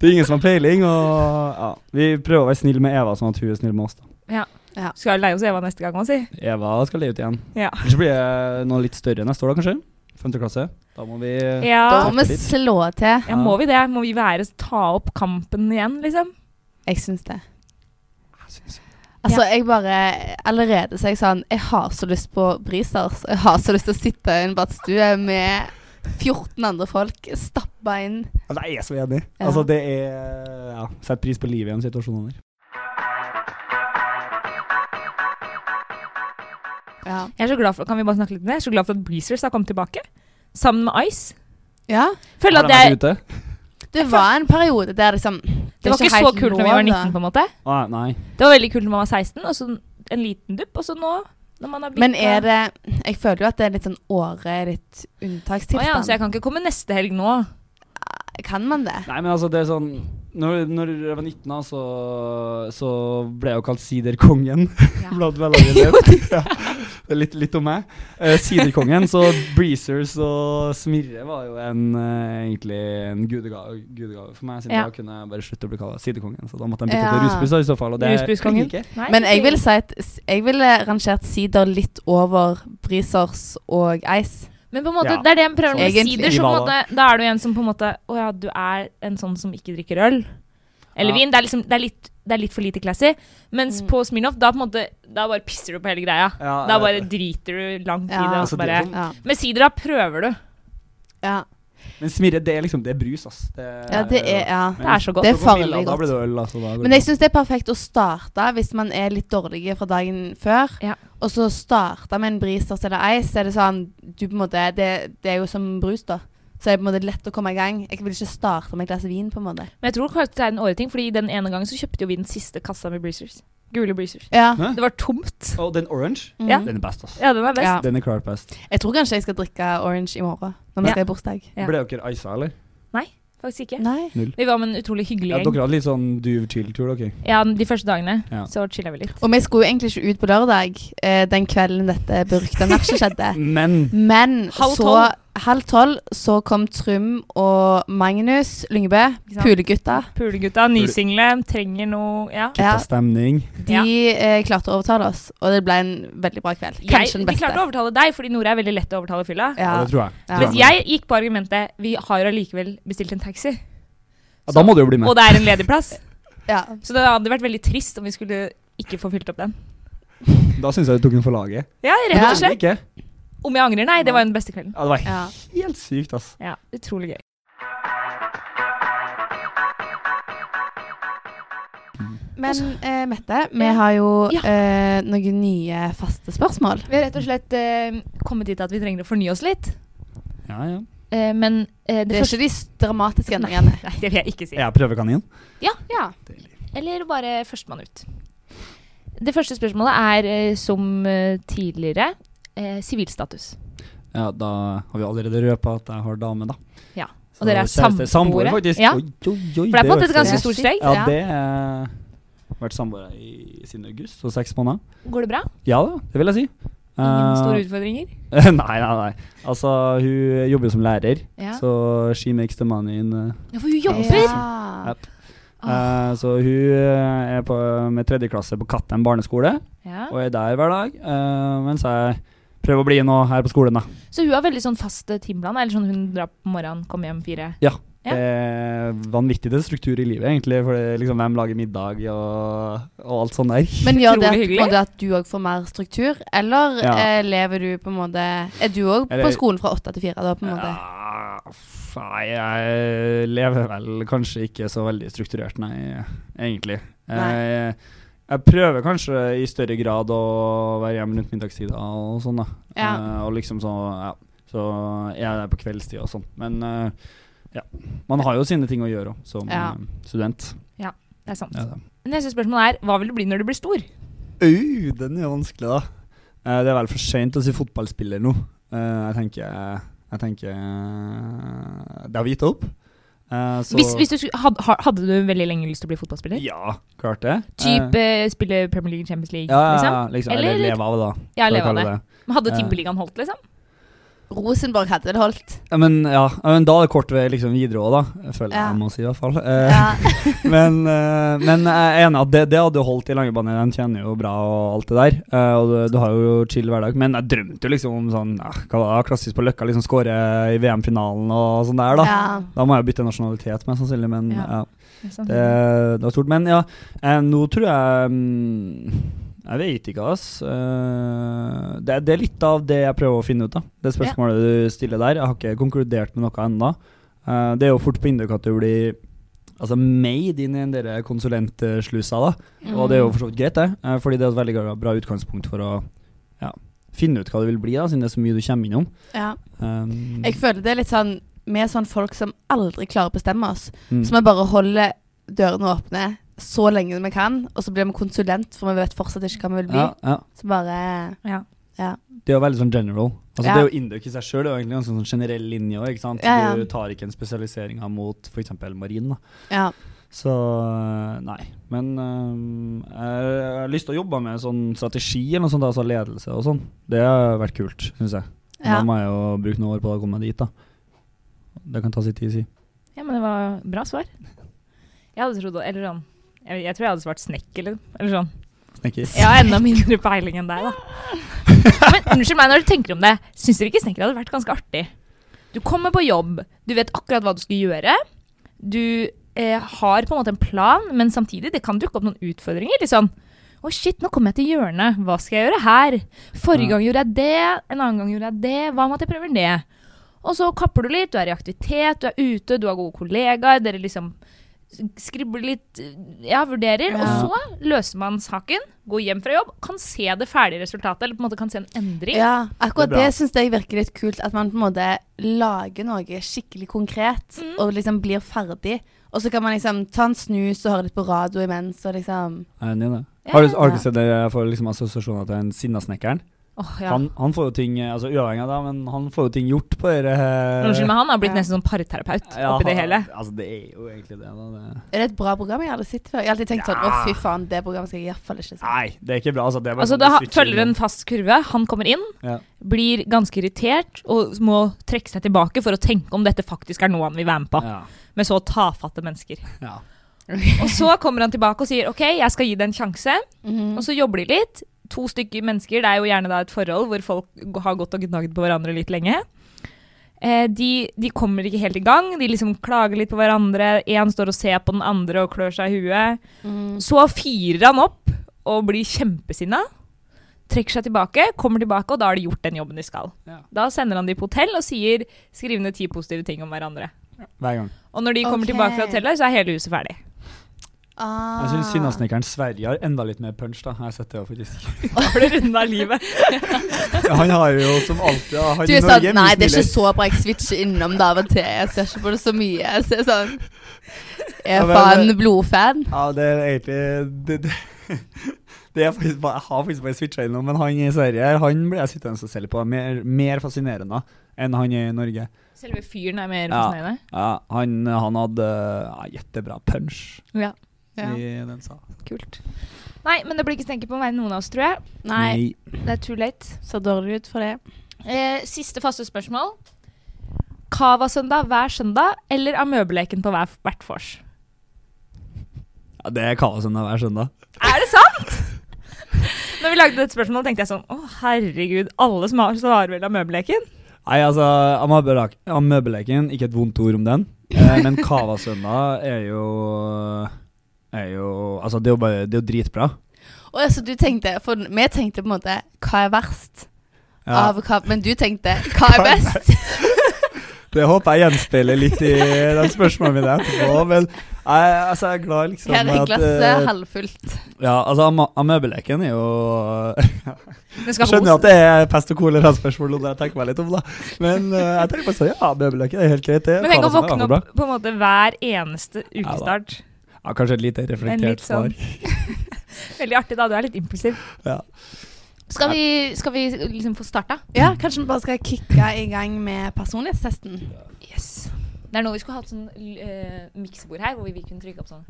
det er ingen som har peiling, og ja. Vi prøver å være snill med Eva, sånn at hun er snill med oss, da.
Skal jeg leie hos Eva neste gang òg, si?
Eva skal leie ut igjen.
Ja.
Ellers blir det noe litt større neste år, da, kanskje? Femte klasse. Da må vi
Da
Ja.
må vi slå til.
ja, må vi det? Må vi være ta opp kampen igjen, liksom?
Jeg syns det. Altså, jeg bare Allerede så er jeg sånn Jeg har så lyst på brisers. Jeg har så lyst til å sitte i en badstue med 14 andre folk, stappa inn
Altså, jeg er så enig.
Ja.
Altså, det er Ja, sett pris på livet i de situasjonene der.
Ja.
Jeg er så glad for, kan vi bare snakke litt om det? Jeg er så glad for at Breezers har kommet tilbake. Sammen med Ice.
ja.
Føler
Har
at
de
det,
vært ute?
Det var en periode der liksom
det var ikke så kult når vi var 19, på en måte.
Å, nei.
Det var veldig kult når man var 16, og så en liten dupp, og så nå når man har eh,
Men er det Jeg føler jo at det er litt sånn året er litt unntakstilstand. Ah,
ja, Så jeg kan ikke komme neste helg nå.
Kan man det?
Nei, men altså, det er sånn Når, når jeg var 19, da, så, så ble jeg jo kalt Siderkongen.
[LAUGHS] Ja.
Blant vennene mine. Ja. Det er litt, litt om meg. Eh, siderkongen, så Breezers og Smirre var jo en, eh, egentlig en gudegave, gudegave for meg, siden
Ja.
da kunne jeg bare slutte å bli kalt Siderkongen. Så da måtte jeg bytte
Ja.
til rusbrus da, i så fall. Og det
Rusbruskongen.
klinger ikke.
Nei,
Men jeg
ikke-
vil si at s- jeg ville rangert sider litt over brisers og ice.
Men på en måte,
Ja,
det er det jeg prøver med
egentlig.
sider. Så på en
Rivala.
måte, da er du en som på en måte Å ja, du er en sånn som ikke drikker øl. Eller
Ja.
vin. Det er, liksom, det, er litt, det er litt for lite classy. Mens
Mm.
på Smirnoff, da på en måte Da bare pisser du på hele greia.
Ja,
Da
jeg
bare
vet det.
driter du langt i
Ja.
det. Og
Altså,
så
det er
bare
sånn-
Ja.
Med sider, da prøver du.
Ja,
Men Smirre, det er liksom Det er brus, ass. Det,
ja det er ja.
Det er så godt.
Det er
Så på Milla,
farlig
Da blir
godt.
det øl, altså. Da går
Men
det
jeg syns det er perfekt å starte hvis man er litt dårlig fra dagen før.
Ja.
Og så starte med en brisers eller ice. Er det sånn du på en måte, det, det er jo som brus, da. Så det er på en måte lett å komme i gang. Jeg vil ikke starte med et glass vin, på en måte.
Men jeg tror kanskje det er en åreting, Fordi den ene gangen så kjøpte jo vi den siste kassa med Breezers. Gule Breezers.
Ja.
Hæ?
Det var tomt.
Og den orange,
Mm.
Ja.
den er best, ass.
Ja, den er best.
Ja.
Den er klart best.
Jeg tror kanskje jeg skal drikke orange i morgen, når vi
Ja.
skal i bursdag.
Ja.
Ble dere isa, eller?
Faktisk ikke.
Nei.
Vi var med en utrolig hyggelig
Ja,
gjeng.
dere hadde litt sånn duv chill-tur, dere.
Ja, de første dagene
Ja.
så chilla vi litt.
Og vi skulle jo egentlig ikke ut på lørdag, eh, den kvelden dette berykta matchet skjedde.
Men
Men
Halv
så
tolv.
halv tolv så kom Trym og Magnus Lyngebø,
Ikke sant?
pulegutta.
Pulegutta, nysingle, trenger noe Ja.
Ja.
Gutta stemning.
De eh, klarte å overtale oss, og det ble en veldig bra kveld.
jeg,
Kanskje den beste.
De klarte å overtale deg, fordi Nora er veldig lett å overtale i fylla.
Ja.
ja.
det tror jeg.
Ja.
Tror
Mens jeg gikk på argumentet 'vi har allikevel bestilt en taxi',
Ja, da må du jo bli med.
og det er en ledig plass.
Ja.
Så det hadde vært veldig trist om vi skulle ikke få fylt opp den.
Da syns jeg du tok den for laget.
Ja, rett og
Ja.
slett.
Ikke?
Om jeg angrer? Nei, det var jo den beste kvelden.
Ja, det var
ja.
helt sykt, ass.
Ja, utrolig gøy.
Men eh, Mette, vi har jo
Ja.
eh, noen nye faste spørsmål.
Vi har rett og slett eh, kommet dit at vi trenger å fornye oss litt.
Ja, ja.
Eh, men eh,
Det
det
er ikke de s- dramatiske endringene.
[LAUGHS] Nei, det vil jeg ikke si.
Er jeg prøvekanin?
Ja.
Eller bare førstemann ut. Det første spørsmålet er eh, som eh, tidligere eh, sivilstatus.
Ja, da har vi allerede røpa at jeg har dame, da.
Ja,
Så
og dere er
kjæreste-
samboere.
faktisk.
Ja.
Oi, oi,
For det
oi,
er på en måte et
økte.
ganske stort steg.
Ja, det har vært samboere i- siden august, så seks måneder.
Går det bra?
Ja da, det vil jeg si.
Ingen
Eh,
store utfordringer?
nei, [LAUGHS] nei, nei. Altså, hun jobber som lærer,
Ja.
så she makes the money in eh,
ja, for hun
Ja.
jobber!
Ja.
Ja.
Ah.
Eh, så hun eh, er på, med tredje klasse på Kattem barneskole
Ja.
og er der hver dag. eh, mens jeg prøver å bli nå her på skolen, da.
Så hun har veldig sånn fast eh, timeplan? Eller sånn hun drar på morgenen, kommer hjem fire? Ja.
Det er vanvittig til struktur i livet, egentlig. For det, er liksom, hvem lager middag og, og alt sånt der.
Men gjør det
Utrolig
at, på en
hyggelig.
måte at du òg får mer struktur, eller
Ja.
eh, lever du på en måte Er du òg på
Eller-
skolen fra åtte til fire, da, på en måte?
Ja, f- Nei, jeg lever vel kanskje ikke så veldig strukturert, nei, egentlig.
Nei.
Jeg, jeg prøver kanskje i større grad å være hjemme rundt middagstida og sånn, da.
Ja.
Eh, og liksom så, ja. Så jeg er der på kveldstid og sånn. Men eh, ja. Man har jo sine ting å gjøre også, som
Ja.
eh, student.
Det er sant.
Ja, da.
Neste spørsmål er hva vil du bli når du blir stor?
Au, den er vanskelig, da. Eh, det er vel for seint å si fotballspiller nå. Eh, jeg tenker Jeg tenker eh, Det har vi gitt opp. Eh, så-
Hvis, hvis du skulle, had, ha- hadde du veldig lenge lyst til å bli fotballspiller?
Ja, klart det.
Typ
Eh,
eh, spille Premier League, Champions League,
ja,
liksom?
ja, liksom. Eller,
Eller-
leve av det, da.
Ja,
skal vi
leve av
kalle
det. Men hadde
Eh.
Tippeligaen holdt, liksom?
Rosenborg hadde det holdt.
Ja, men, ja, men da er det kort vei liksom, videre òg, da. Føler jeg
Ja.
jeg må si, i hvert fall. Eh,
Ja.
men, eh, men jeg er enig at det, det hadde jo holdt i langebane. De tjener jo bra og alt det der. eh, og du, du har jo chill hverdag. Men jeg drømte jo liksom om sånn ja, hva var det, klassisk på Løkka, liksom skåre i VM-finalen og sånn der, da.
Ja.
Da må jeg bytte nasjonalitet, mest sannsynlig, men ja.
Ja. Liksom.
det, det var stort. Men ja, eh, nå tror jeg mm, Jeg vet ikke, ass. Eh, det, det er litt av det jeg prøver å finne ut, da. Det spørsmålet du stiller der. Jeg har ikke konkludert med noe ennå. Eh, det er jo fort på inntrykk at du blir altså, made inn i en del konsulentsluser, da. [LAUGHS] Og det er
Mm.
jo for så vidt greit, det. eh, Fordi det er et veldig gra- bra utgangspunkt for å ja, finne ut hva du vil bli, da, siden det er så mye du kommer innom.
ja.
Um,
Jeg føler det er litt sånn Vi er sånn folk som aldri klarer å bestemme oss.
mm.
Så vi bare holder dørene åpne så lenge vi kan, og så blir vi konsulent, for vi vet fortsatt ikke hva vi vil bli.
ja, ja.
Så bare
Ja.
Det er jo veldig sånn general. Altså
Ja.
Det er jo indøk i seg sjøl. Det er jo egentlig ganske sånn generell linje også, ikke sant?
Ja, ja.
Du tar ikke en spesialisering av mot f.eks. marin. da.
Ja.
Så eh, nei. Men øhm, jeg jeg har lyst til å jobbe med sånn strategi eller noe sånt, altså ledelse og sånn. Det har vært kult, syns jeg. Men
ja.
Da må jeg jo bruke noen år på å komme meg dit, da. Det kan ta sin tid, si.
Ja, men det var bra svar. Jeg hadde trodd Eller sånn jeg, jeg tror jeg hadde svart snekker, eller, eller sånn.
Snekker.
Jeg har enda mindre peiling enn deg, da. Men unnskyld meg, når du tenker om det, syns dere ikke snekker hadde vært ganske artig? Du kommer på jobb, du vet akkurat hva du skal gjøre. Du eh, har på en måte en plan, men samtidig, det kan dukke opp noen utfordringer. Litt sånn Å, shit, nå kom jeg til hjørnet. Hva skal jeg gjøre her? Forrige
Ja.
gang gjorde jeg det, en annen gang gjorde jeg det. Hva om at jeg prøver det? Og så kapper du litt, du er i aktivitet, du er ute, du har gode kollegaer, dere liksom skribler litt, ja, vurderer. Og
Ja.
så løser man saken, går hjem fra jobb, kan se det ferdige resultatet, eller på en måte kan se en endring.
Ja,
Det er
akkurat
bra.
det, synes syns jeg virker litt kult. At man på en måte lager noe skikkelig konkret,
Mm.
og liksom blir ferdig. Og så kan man liksom ta en snus og høre litt på radio imens, og liksom
Jeg er enig i det.
Ja,
Har du, har
ja.
du sett det? Jeg får liksom assosiasjoner til en Sinnasnekkeren.
Åh, ja.
Han, han får jo ting eh, altså uavhengig av det, men han får jo ting gjort på dette
Unnskyld, men han har blitt
Ja.
nesten sånn parterapeut
eh, Ja,
oppi det
han-
hele.
Altså, det er jo egentlig det. Da. det
Er det et bra program? Jeg har aldri sett før. Jeg har alltid tenkt sånn Å,
Ja.
fy faen, det programmet skal jeg iallfall ikke se.
Nei, det er ikke bra. Altså, det er bare
Altså,
sånn
det ha,
switcher
følger en
innom.
fast kurve. Han kommer inn,
Ja.
blir ganske irritert og må trekke seg tilbake for å tenke om dette faktisk er noe han vil være med på,
Ja.
med så tafatte mennesker.
Ja.
Og så kommer han tilbake og sier OK, jeg skal gi det en sjanse.
Mhm.
Mm.
Og så jobber de litt. To stykker mennesker, det er jo gjerne da et forhold hvor folk g- har gått og gnagd på hverandre litt lenge. Eh, de, de kommer ikke helt i gang. De liksom klager litt på hverandre. Én står og ser på den andre og klør seg i huet.
Mhm.
Så fyrer han opp og blir kjempesinna. Trekker seg tilbake, kommer tilbake, og da har de gjort den jobben de skal.
Ja.
Da sender han de på hotell og sier 'skriv ned ti positive ting om hverandre'.
Hver gang.
Og når de kommer
Ok.
tilbake fra hotellet, så er hele huset [LAUGHS] ferdig.
Ah.
Jeg syns
[LAUGHS]
Sinnasnekkeren Sverige har enda litt mer punch, da. Jeg har sett det også, faktisk. [LAUGHS]
Da har du runda livet.
Han har jo som alltid han
Du
i
er sånn
Norge,
Nei,
mye
det er ikke
smiler.
så bra. Jeg switcher innom det av og til. Jeg ser ikke på det så mye. Jeg ser sånn Jeg
Ja,
er
men-
faen blodfan.
Ja, det er egentlig det, det, det [LAUGHS] er faktisk, bare- Jeg har faktisk bare switcha innom, men han i Sverige her, han blir jeg sittende og se litt på. Mer, mer fascinerende enn han i Norge.
Selve fyren er mer
Ja.
fascinerende.
Ja, han, han hadde ja, jettebra punch
Ja.
Ja.
i den sa.
Kult. Nei, men det blir ikke stengt på meg noen av oss, tror jeg.
Nei,
Det er too late.
så dårlig ut for det.
Eh, siste faste spørsmål. Cava-søndag hver søndag eller amøbeleken på hver, hvert vors?
Ja, det er kaosen av hver søndag.
Er det sant?! Når vi lagde dette spørsmålet, tenkte jeg sånn Å, herregud, alle som har, så har vel amøbeleken?
Nei, altså, amøbelak- amøbeleken, ikke et vondt ord om den. Eh, men Kava-søndag er jo er jo, altså det er jo, bare, det er jo dritbra.
Og altså, du tenkte, for vi tenkte på en måte Hva er verst?
Ja,
Av hva, men du
[LAUGHS]
tenkte Hva er
Hva er
[LAUGHS] best?
det håper jeg gjenspeiler litt i de spørsmålene mine etterpå. Men jeg, altså, jeg er glad liksom
Her er
at,
glasset
eh,
halvfullt.
Ja, altså ama- Amøbeleken er jo
Den
Jeg
skal
skjønner at
hos.
det er pest og kolera-spørsmål når jeg tenker meg litt om, da. Men eh, jeg tenker bare sånn, ja, amøbeleken er helt greit, det.
Men tenk å
Kava-søndag er
våkne
bra.
opp på en måte hver eneste
da.
ukestart.
Ja, kanskje et
En
lite
litt
reflektert
sånn
svar.
Veldig artig, da. Du er litt impulsiv.
Ja.
Skal vi, skal vi liksom få starta?
Ja, kanskje vi bare skal kicke i gang med personlighetstesten.
Yes. Det er nå vi skulle hatt sånn eh, miksebord her, hvor vi kunne trykke opp sånn.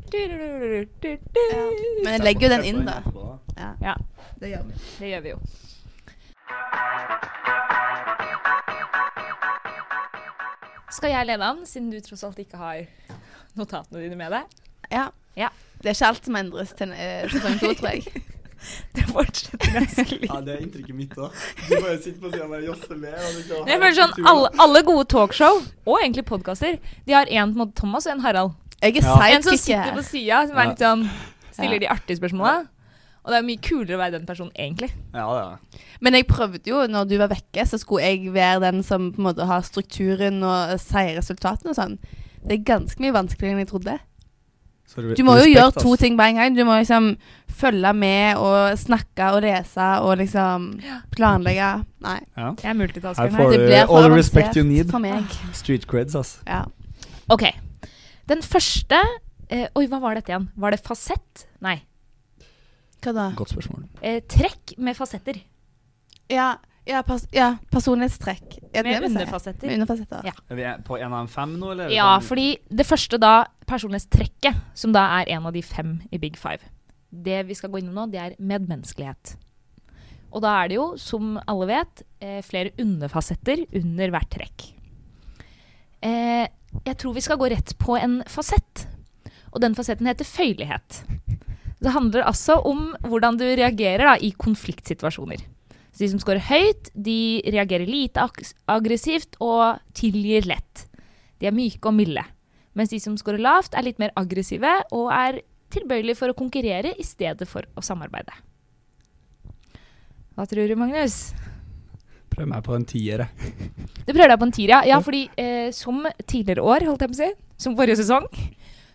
Men jeg legger jo den inn, da. Ja,
Ja.
det gjør vi.
Det gjør vi jo. Skal jeg lede an, siden du tross alt ikke har notatene dine med deg?
Ja.
Ja.
Det er ikke alt som endres til eh, sesong to, tror jeg.
Det fortsetter ganske [LAUGHS] litt.
det er inntrykket mitt òg. Du bare sitter på siden og josser med.
Jeg føler sånn, alle, alle gode talkshow, og egentlig podkaster, de har en på en måte Thomas og en Harald.
[LAUGHS] Jeg er
Ja.
En som
sidekicker
sitter
her.
på sida, som
Ja.
er litt sånn
Ja.
Stiller de artige spørsmåla. Og det er mye kulere å være den personen, egentlig.
Ja, ja.
Men jeg prøvde jo, når du var vekke, så skulle jeg være den som på en måte har strukturen og sier resultatene og sånn. Det er ganske mye vanskeligere enn jeg trodde.
Så re-
Du må jo
respekt,
gjøre
altså.
to ting på en gang. Du må liksom følge med og snakke og lese og liksom planlegge. Nei.
Ja.
Jeg er
Her
multitasker.
får
Her.
du-
Det blir
all
for
the respect you need.
avansert for meg.
Street creds, altså.
Ja.
OK. Den første eh, Oi, hva var dette igjen? Var det fasett? Nei.
Hva da?
Godt spørsmål.
Eh, trekk med fasetter.
Ja, ja, pers ja personlighetstrekk. Er
Med
det det vi sier? Med
underfasetter.
underfasetter.
Ja.
Er vi på en av de fem nå, eller?
Ja, fordi det første da, personlighetstrekket, som da er en av de fem i Big Five. Det vi skal gå innom nå, det er medmenneskelighet. Og da er det jo, som alle vet, eh, flere underfasetter under hvert trekk. Eh, jeg tror vi skal gå rett på en fasett. Og den fasetten heter føyelighet. Det handler altså om hvordan du reagerer da, i konfliktsituasjoner. Så de som scorer høyt, de reagerer lite ag- aggressivt og tilgir lett. De er myke og milde. Mens de som scorer lavt, er litt mer aggressive og er tilbøyelige for å konkurrere i stedet for å samarbeide. Hva tror du, Magnus?
Prøv meg på en tier, jeg.
Du prøver deg på en tier, ja. ja fordi eh, som tidligere år, holdt jeg på å si, som forrige sesong,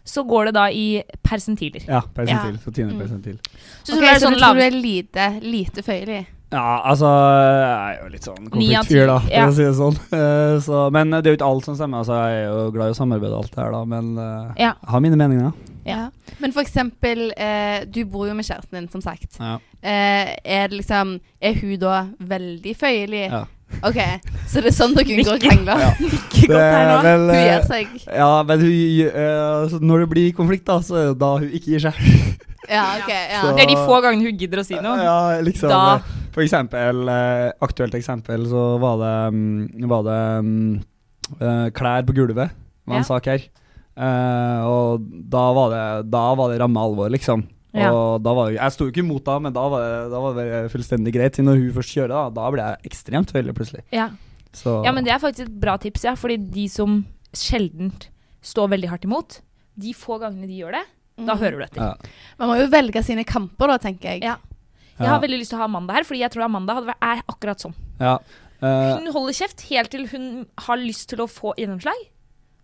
så går det da i persentiler.
Ja, persentil.
persentil,
Så tiende
Mm.
persentil.
Så,
Ok,
så, det er
så
sånn
du tror du
lavest-
er lite, lite føyelig?
Ja, altså Jeg er jo litt sånn
Ni av
konfliktfyr, da,
ti,
for
ja.
å si det sånn. [LAUGHS] Eh, så, men det er jo ikke alt som stemmer. Altså, jeg er jo glad i å samarbeide og alt det her, da, men eh,
Ja.
jeg har mine meninger.
Ja.
Men for eksempel, eh, du bor jo med kjæresten din, som sagt.
Ja.
Eh, er, det liksom, er hun da veldig føyelig?
Ja.
OK, så det er sånn dere unngår [LAUGHS] krangler?
[LAUGHS] Ikke godt her nå.
vel,
Hun
eh,
gir seg.
ja, men hun, eh, så når det blir konflikt, da, så er det da hun ikke gir seg.
Ja, ok. Ja.
Så-
Det er de få gangene hun gidder å si noe.
Ja, liksom.
Da-
eh, For eksempel, eh, aktuelt eksempel, så var det, mm, var det mm, eh, klær på gulvet, var en
Ja.
sak her. Eh, og da var det, da var det ramme alvor, liksom.
Ja.
Og da var, jeg sto jo ikke imot da, men da var det, da var det fullstendig greit. Siden Når hun først kjører, da, da ble jeg ekstremt høylig plutselig.
Ja.
Så
Ja, men det er faktisk et bra tips, ja. Fordi de som sjeldent står veldig hardt imot, de få gangene de gjør det, da hører du etter.
ja.
Mm. Man må jo velge sine kamper, da, tenker jeg.
Ja. Jeg har veldig lyst til å ha Amanda her, fordi jeg tror Amanda hadde vært, er akkurat sånn.
ja. Eh,
Hun holder kjeft helt til hun har lyst til å få gjennomslag,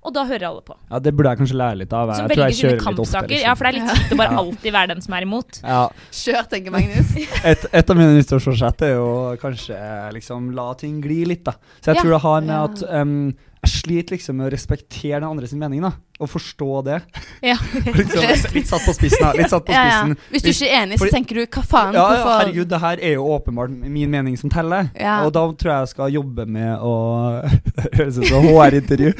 og da hører alle på.
ja, det burde jeg kanskje lære litt av.
Som
Jeg tror
velger
jeg
sine
kjører litt ofte.
kampsaker. Ja, for det er litt kjipt å bare alltid være den som er imot.
Ja,
Kjør, tenker [LAUGHS] Magnus.
et, et av mine nyttårsforsett er jo kanskje liksom la ting gli litt, da. Så jeg
Ja.
tror det har med
Ja.
at em, jeg sliter liksom med å respektere den andres mening, da. Og forstå det.
[LAUGHS]
Ja.
sånn
liksom, litt satt på spissen, da. Litt satt på
Ja, ja.
spissen.
Hvis du ikke er enig, så
Fordi-
tenker du 'hva
Ja,
faen'?
ja,
hvorfor-
herregud, det her er jo åpenbart min mening som teller.
Ja.
Og da tror jeg jeg skal jobbe med å [LAUGHS] Det høres ut som HR-intervju.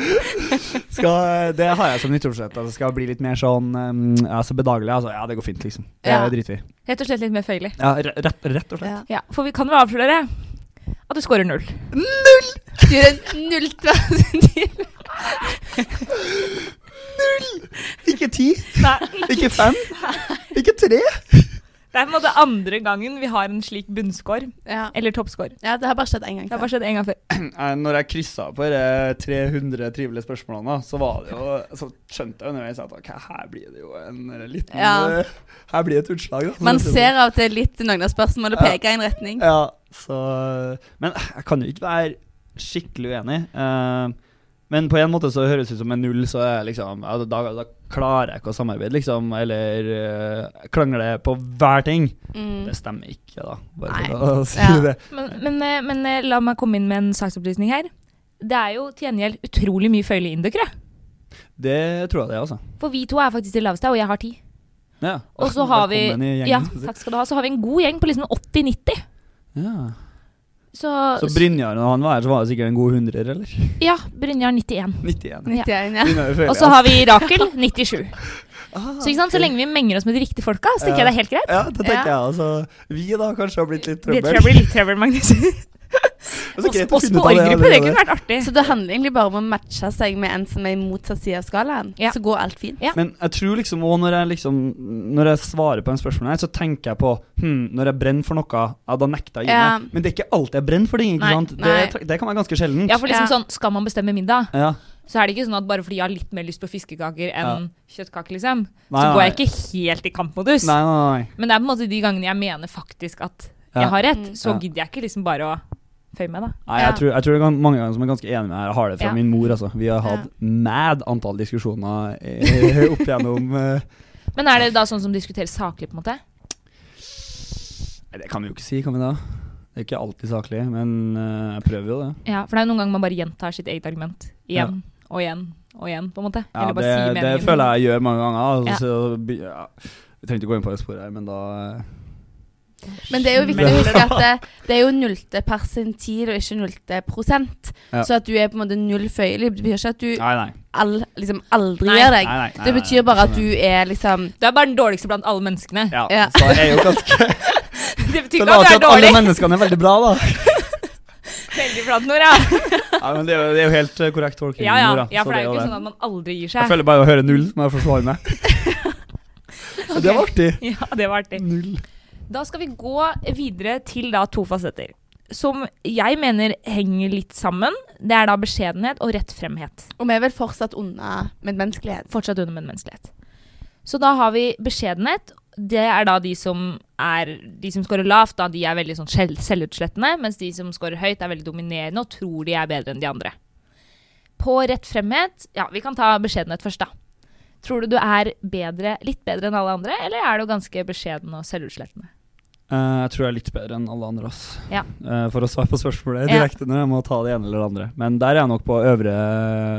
Skal- Det har jeg som nyttårsforsett. Altså, skal bli litt mer sånn um, altså, bedagelig. Altså, ja, det går fint, liksom. Det
Ja.
driter vi i.
Rett og slett litt mer føyelig.
Ja, re- rett, rett og slett.
Ja.
Ja, for vi kan jo avsløre at du scorer null.
Du er en null [LAUGHS] til-
Ikke ti,
[LAUGHS] Nei.
ikke fem, ikke tre.
Det er på en måte andre gangen vi har en slik bunnscore,
ja.
eller toppscore.
ja, det har bare skjedd én gang
Det har
før.
bare skjedd en gang før.
Nei, Når jeg kryssa på de 300 trivelige spørsmålene, så, var det jo, så skjønte jeg underveis at ok, her blir det jo en liten
Ja.
Her blir det et utslag. Da.
Man ser av og til litt noen av spørsmålene
Ja.
peker i en retning.
Ja, så Men jeg kan jo ikke være skikkelig uenig. eh, men på en måte så høres det ut som en null, så er jeg liksom ja, da, da klarer jeg ikke å samarbeide, liksom. Eller uh, krangle på hver ting.
Mm.
Det stemmer ikke, da. Bare
Nei.
for å si
Ja.
det.
Men, men, eh, men eh, la meg komme inn med en saksopplysning her. Det er jo til gjengjeld utrolig mye føyelige indokere.
Det tror jeg det, er, altså.
For vi to er faktisk de laveste, og jeg har ti.
Ja.
Og så har vi
Velkommen i gjengen,
Ja,
skal jeg si.
takk skal du ha. Så har vi en god gjeng på liksom 80-90.
Ja.
Så,
Så Brynjar, når han var her, så var det sikkert en god hundrer, eller? [LAUGHS]
Ja, Brynjar 91.
91.
91, ja.
Brynjar er føyelig,
Og så har vi Rakel
[LAUGHS]
97.
Ah,
Så ikke sant, så lenge vi menger oss med de riktige folka, så tenker jeg det er helt greit.
Ja, det tenker
Ja.
jeg altså. Vi da kanskje har blitt litt
Det
trøbbel.
tror jeg blir litt trøbbel,
[LAUGHS]
Magnus.
Det er greit å
Oss på
finne ut av
orgruppe,
det
det
allerede.
kunne vært artig.
Så det handler egentlig bare om å matche seg med en som er i motsatt side av skalaen.
Ja.
Så går alt fint.
Ja.
Men jeg tror liksom også når jeg liksom Når jeg svarer på en spørsmål her, så tenker jeg på hm, Når jeg brenner for noe, ja, da nekter jeg å gi
Ja.
meg. Men det er ikke alltid jeg brenner for ting. ikke
Nei,
sant? Det,
nei.
det kan være ganske sjelden.
Ja, for liksom
Ja.
sånn, skal man bestemme middag,
Ja.
så er det ikke sånn at bare fordi jeg har litt mer lyst på fiskekaker enn kjøttkaker, liksom,
Nei,
så
nei,
går jeg ikke helt i kampmodus.
Nei, nei, nei.
Men det er på en måte de gangene jeg mener faktisk at
Ja.
jeg har rett,
Mm.
så
Ja.
gidder jeg ikke liksom bare å føye meg, da.
nei jeg,
Ja.
tror, jeg tror det er mange ganger som jeg er ganske enig med her. Jeg har det fra
Ja.
min mor, altså. Vi har hatt mad antall diskusjoner eh, opp gjennom eh,
Men er det da sånn som diskuterer saklig, på en måte?
Nei, det kan vi jo ikke si, kan vi da? Det er ikke alltid saklig, men eh, jeg prøver jo det.
Ja, for det er jo noen ganger man bare gjentar sitt eget argument igjen og igjen og igjen, på en måte.
Ja,
Eller
det,
bare si
det
meningen.
føler jeg jeg gjør mange ganger. Altså,
Ja.
så by- ja. Vi trenger ikke gå inn på det sporet her, men da eh,
Men det er jo viktig å huske at det, det er jo nullte persentil og ikke nullte prosent.
Ja.
Så at du er på en måte null føyelig, det betyr ikke at du
Nei, nei.
all, liksom aldri
Nei.
gjør
nei,
deg.
nei, nei
Det betyr bare at du er liksom
Du er bare den dårligste blant alle menneskene.
Ja,
Ja.
så jeg er jo ganske
[LAUGHS] Det betyr
Så
ikke at
la oss
[LAUGHS] du er
si at alle
dårlig.
menneskene er veldig bra,
[LAUGHS]
da.
Veldig blant Nora.
Ja, men Det er jo, det er jo helt eh, korrekt tolkning.
Ja, ja.
Nora,
ja,
så
for det er jo
jo
ikke sånn at man aldri gir
Jeg
seg.
føler bare å høre null, må jeg forsvare meg. Og Det var artig.
[LAUGHS] Ja, det var artig.
Null.
Da skal vi gå videre til da to fasetter. Som jeg mener henger litt sammen. Det er da beskjedenhet og rettfremhet.
Og vi er vel fortsatt unna medmenneskelighet.
Fortsatt under medmenneskelighet. Så da har vi beskjedenhet. Det er da de som er De som scorer lavt, da de er veldig sånn selv, selvutslettende. Mens de som scorer høyt, er veldig dominerende og tror de er bedre enn de andre. På rettfremhet Ja, vi kan ta beskjedenhet først, da. Tror du du er bedre, litt bedre enn alle andre, eller er du ganske beskjeden og selvutslettende?
Eh, jeg tror jeg er litt bedre enn alle andre. Ass.
Ja.
Eh, for å svare på spørsmålet
Ja.
direkte nå, jeg må ta det ene eller det andre. Men der er jeg nok på øvre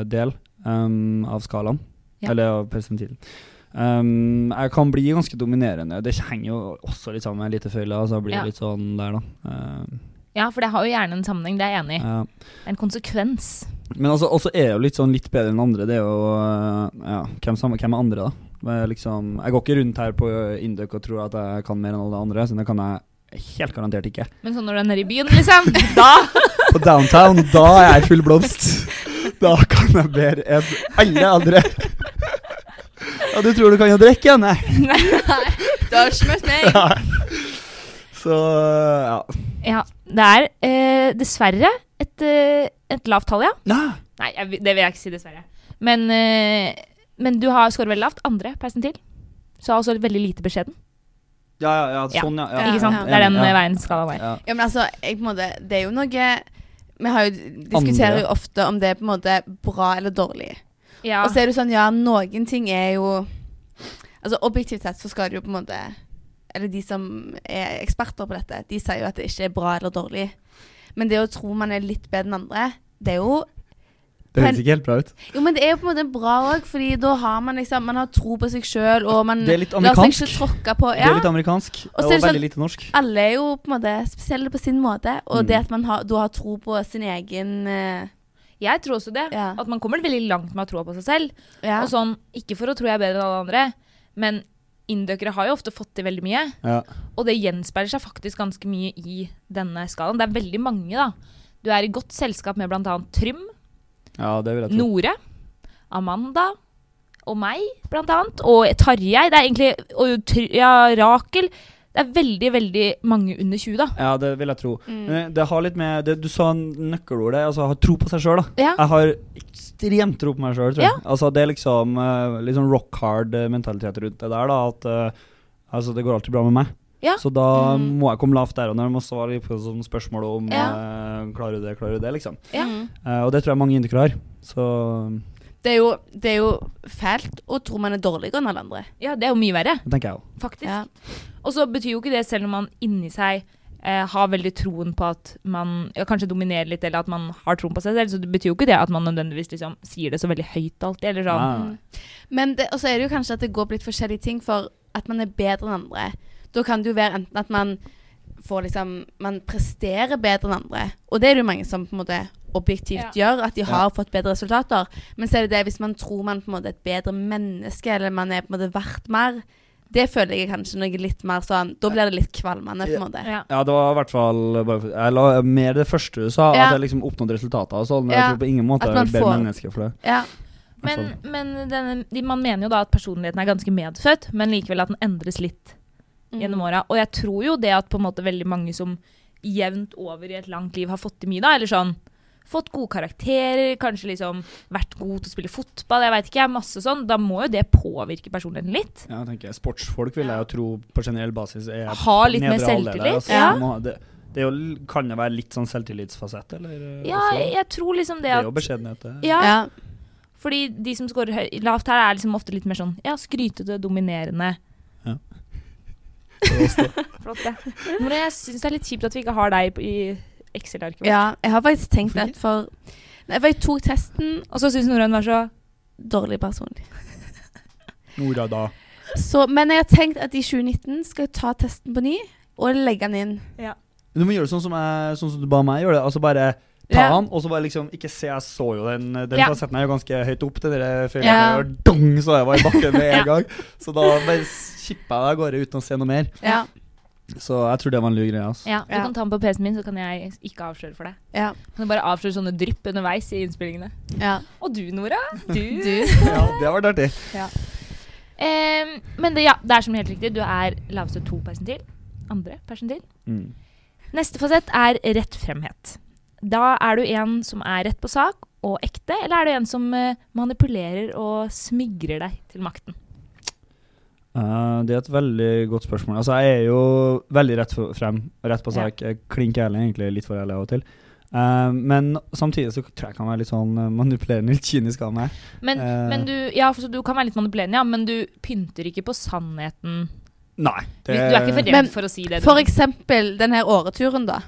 del um, av skalaen.
Ja.
Eller av persentilen. Um, jeg kan bli ganske dominerende. Det henger jo også litt sammen med en liten føyle. Altså jeg blir
Ja.
litt sånn der, da. Um,
Ja, for det har jo gjerne en sammenheng, det er jeg enig i.
ja.
Det er En konsekvens.
Men altså, også er jeg jo litt sånn litt bedre enn andre. Det er jo eh, ja, hvem, sammen, hvem er andre, da? Jeg, liksom, jeg går ikke rundt her på Induc og tror at jeg kan mer enn alle andre, så det kan jeg helt garantert ikke.
Men sånn når du er nede i byen, liksom, da
På downtown, da er jeg i full blomst. Da kan jeg bedre enn alle andre. Ja, du tror du kan jo drikke, ja? Nei.
[LAUGHS]
Du har ikke møtt meg.
Så ja.
Ja. Det er eh, dessverre et eh, et lavt tall, ja.
Nei.
Nei, jeg, vil- det vil jeg ikke si, dessverre. Men, eh, men du har scoret veldig lavt. Andre persentil. Så har også veldig lite beskjeden.
Ja, ja, ja,
Ja.
sånn, ja. ja.
Ikke sant?
ja.
Det er den
Ja.
eh, veien skalaen er.
Ja.
Ja, men altså, jeg, på en måte, det er jo noe Vi har jo, diskuterer jo ofte om det er på en måte bra eller dårlig.
Ja.
Og så er det jo sånn, ja, noen ting er jo Altså objektivt sett så skal det jo på en måte Eller de som er eksperter på dette, de sier jo at det ikke er bra eller dårlig. Men det å tro man er litt bedre enn andre, det er jo
Det høres ikke helt bra ut.
Jo, men det er jo på en måte bra òg, fordi da har man liksom Man har tro på seg sjøl, og man
Det er litt
lar seg
amerikansk.
ikke tråkke på.
Det
Ja.
er litt amerikansk, og,
så er det
veldig
sånn-
lite norsk.
Alle er jo på en måte spesielle på sin måte, og
Mm.
det at man har, da har tro på sin egen eh,
Jeg tror også det.
Ja.
At man kommer veldig langt med å ha troa på seg selv.
ja.
Og sånn, ikke for å tro jeg er bedre enn alle andre, men indøkere har jo ofte fått til veldig mye.
Ja.
Og det gjenspeiler seg faktisk ganske mye i denne skalaen. Det er veldig mange, da. Du er i godt selskap med bl.a. Trym,
ja, det vil jeg tro.
Nore, Amanda og meg, blant annet. Og Tarjei. Det er egentlig Og Tr- ja, Rakel. Det er veldig, veldig mange under 20, da.
Ja, det vil jeg tro.
Mm.
Men Det har litt med det, Du sa nøkkelordet, altså ha tro på seg sjøl, da.
Ja.
Jeg har ekstremt tro på meg sjøl, tror jeg.
Ja.
Altså, det er liksom eh, litt sånn rock hard-mentalitet rundt det der, da. At eh, altså, det går alltid bra med meg.
Ja.
Så da
Mm.
må jeg komme lavt der og når jeg må svare på sånne spørsmål om eh, Klarer du det, klarer du det, liksom.
Ja.
Mm.
Eh, og det tror jeg mange indikere har. Så
Det, er jo, det er jo fælt å tro man er dårligere enn alle andre.
ja, det er jo mye verre,
det tenker jeg òg.
faktisk.
Ja.
Og så betyr jo ikke det, selv om man inni seg eh, har veldig troen på at man ja, kanskje dominerer litt, eller at man har troen på seg selv, så det betyr jo ikke det at man nødvendigvis liksom, sier det så veldig høyt alltid, eller sånn.
Nei, nei, nei.
Mm. Men det, og så er det jo kanskje at det går på litt forskjellige ting for at man er bedre enn andre. Da kan det jo være enten at man får liksom Man presterer bedre enn andre, og det er det jo mange som på en måte objektivt gjør, at de har fått bedre resultater. Men så er det det hvis man tror man på en måte er et bedre menneske, eller man er på en måte verdt mer. Det føler jeg kanskje noe litt mer sånn Da blir det litt kvalmende, på en måte.
Ja.
Ja, det var i hvert fall bare for- Jeg la mer det første du sa,
Ja.
at jeg liksom oppnådde resultater og sånn. men
Ja.
Jeg tror på ingen måte
At
jeg er
man
et bedre
får-
menneske for det.
Ja.
Men,
sånn.
men denne, de, man mener jo da at personligheten er ganske medfødt, men likevel at den endres litt
Mm.
gjennom åra. Og jeg tror jo det at på en måte veldig mange som jevnt over i et langt liv har fått til mye, da, eller sånn Fått gode karakterer, kanskje liksom vært god til å spille fotball, jeg veit ikke, jeg, masse sånn. Da må jo det påvirke personligheten litt.
Ja, jeg tenker Sportsfolk vil jeg jo tro på generell basis er
Ha
på
litt mer
nedre halvdel der,
selvtillit,
altså.
ja.
Man må ha Det, det er jo, kan det være litt sånn selvtillitsfasett, eller? eh,
Ja,
også?
jeg, jeg tror liksom det
det er jo
at
beskjedenhet, det.
ja,
ja.
fordi de som scorer høy, lavt her, er liksom ofte litt mer sånn ja, skrytete, dominerende.
Ja.
[LAUGHS] Flott, det. Men jeg syns det er litt kjipt at vi ikke har deg på- i Excel-arket. vårt.
Ja, jeg har faktisk tenkt det, for Nei, for jeg tok testen
Og så syns Norun var så
dårlig personlig.
Nora, da.
Så, men jeg har tenkt at i 2019 skal jeg ta testen på ny og legge den inn.
Du må gjøre sånn som, jeg, sånn som du ba meg gjøre det. Altså bare ta
Ja.
den, og så bare liksom Ikke se, jeg så jo den Den
Ja.
fasetten er jo ganske høyt opp til dere før
Ja.
jeg dong, så jeg var i bakken med en
[LAUGHS] Ja.
gang. Så da bare kippa jeg av gårde uten å se noe mer.
Ja.
Så jeg tror det var en lur greie,
[LAUGHS]
altså.
Ja, du
Ja.
kan ta den på PC-en min, så kan jeg ikke avsløre for deg.
Ja.
Kan du bare avsløre sånne drypp underveis i innspillingene.
ja.
Og du, Nora. Du.
Ja, det har vært artig.
[LAUGHS] Em, men det, ja, det er som helt riktig. Du er laveste to persentil. Andre persentil.
Mm.
Neste fasett er rett fremhet. Da er du en som er rett på sak og ekte, eller er du en som eh, manipulerer og smigrer deg til makten?
Eh, det er et veldig godt spørsmål. Altså, jeg er jo veldig rett f- frem, rett på
Ja.
sak. Jeg Klinker ærlig, egentlig litt for ærlig av og til. Eh, men samtidig så tror jeg jeg kan være litt sånn eh, manipulerende, litt kynisk av meg.
Men,
Eh.
men du, ja, for så du kan være litt manipulerende, ja, men du pynter ikke på sannheten.
Nei.
Du er ikke for redd
Men
for å si det. du-
For eksempel den her åreturen, da.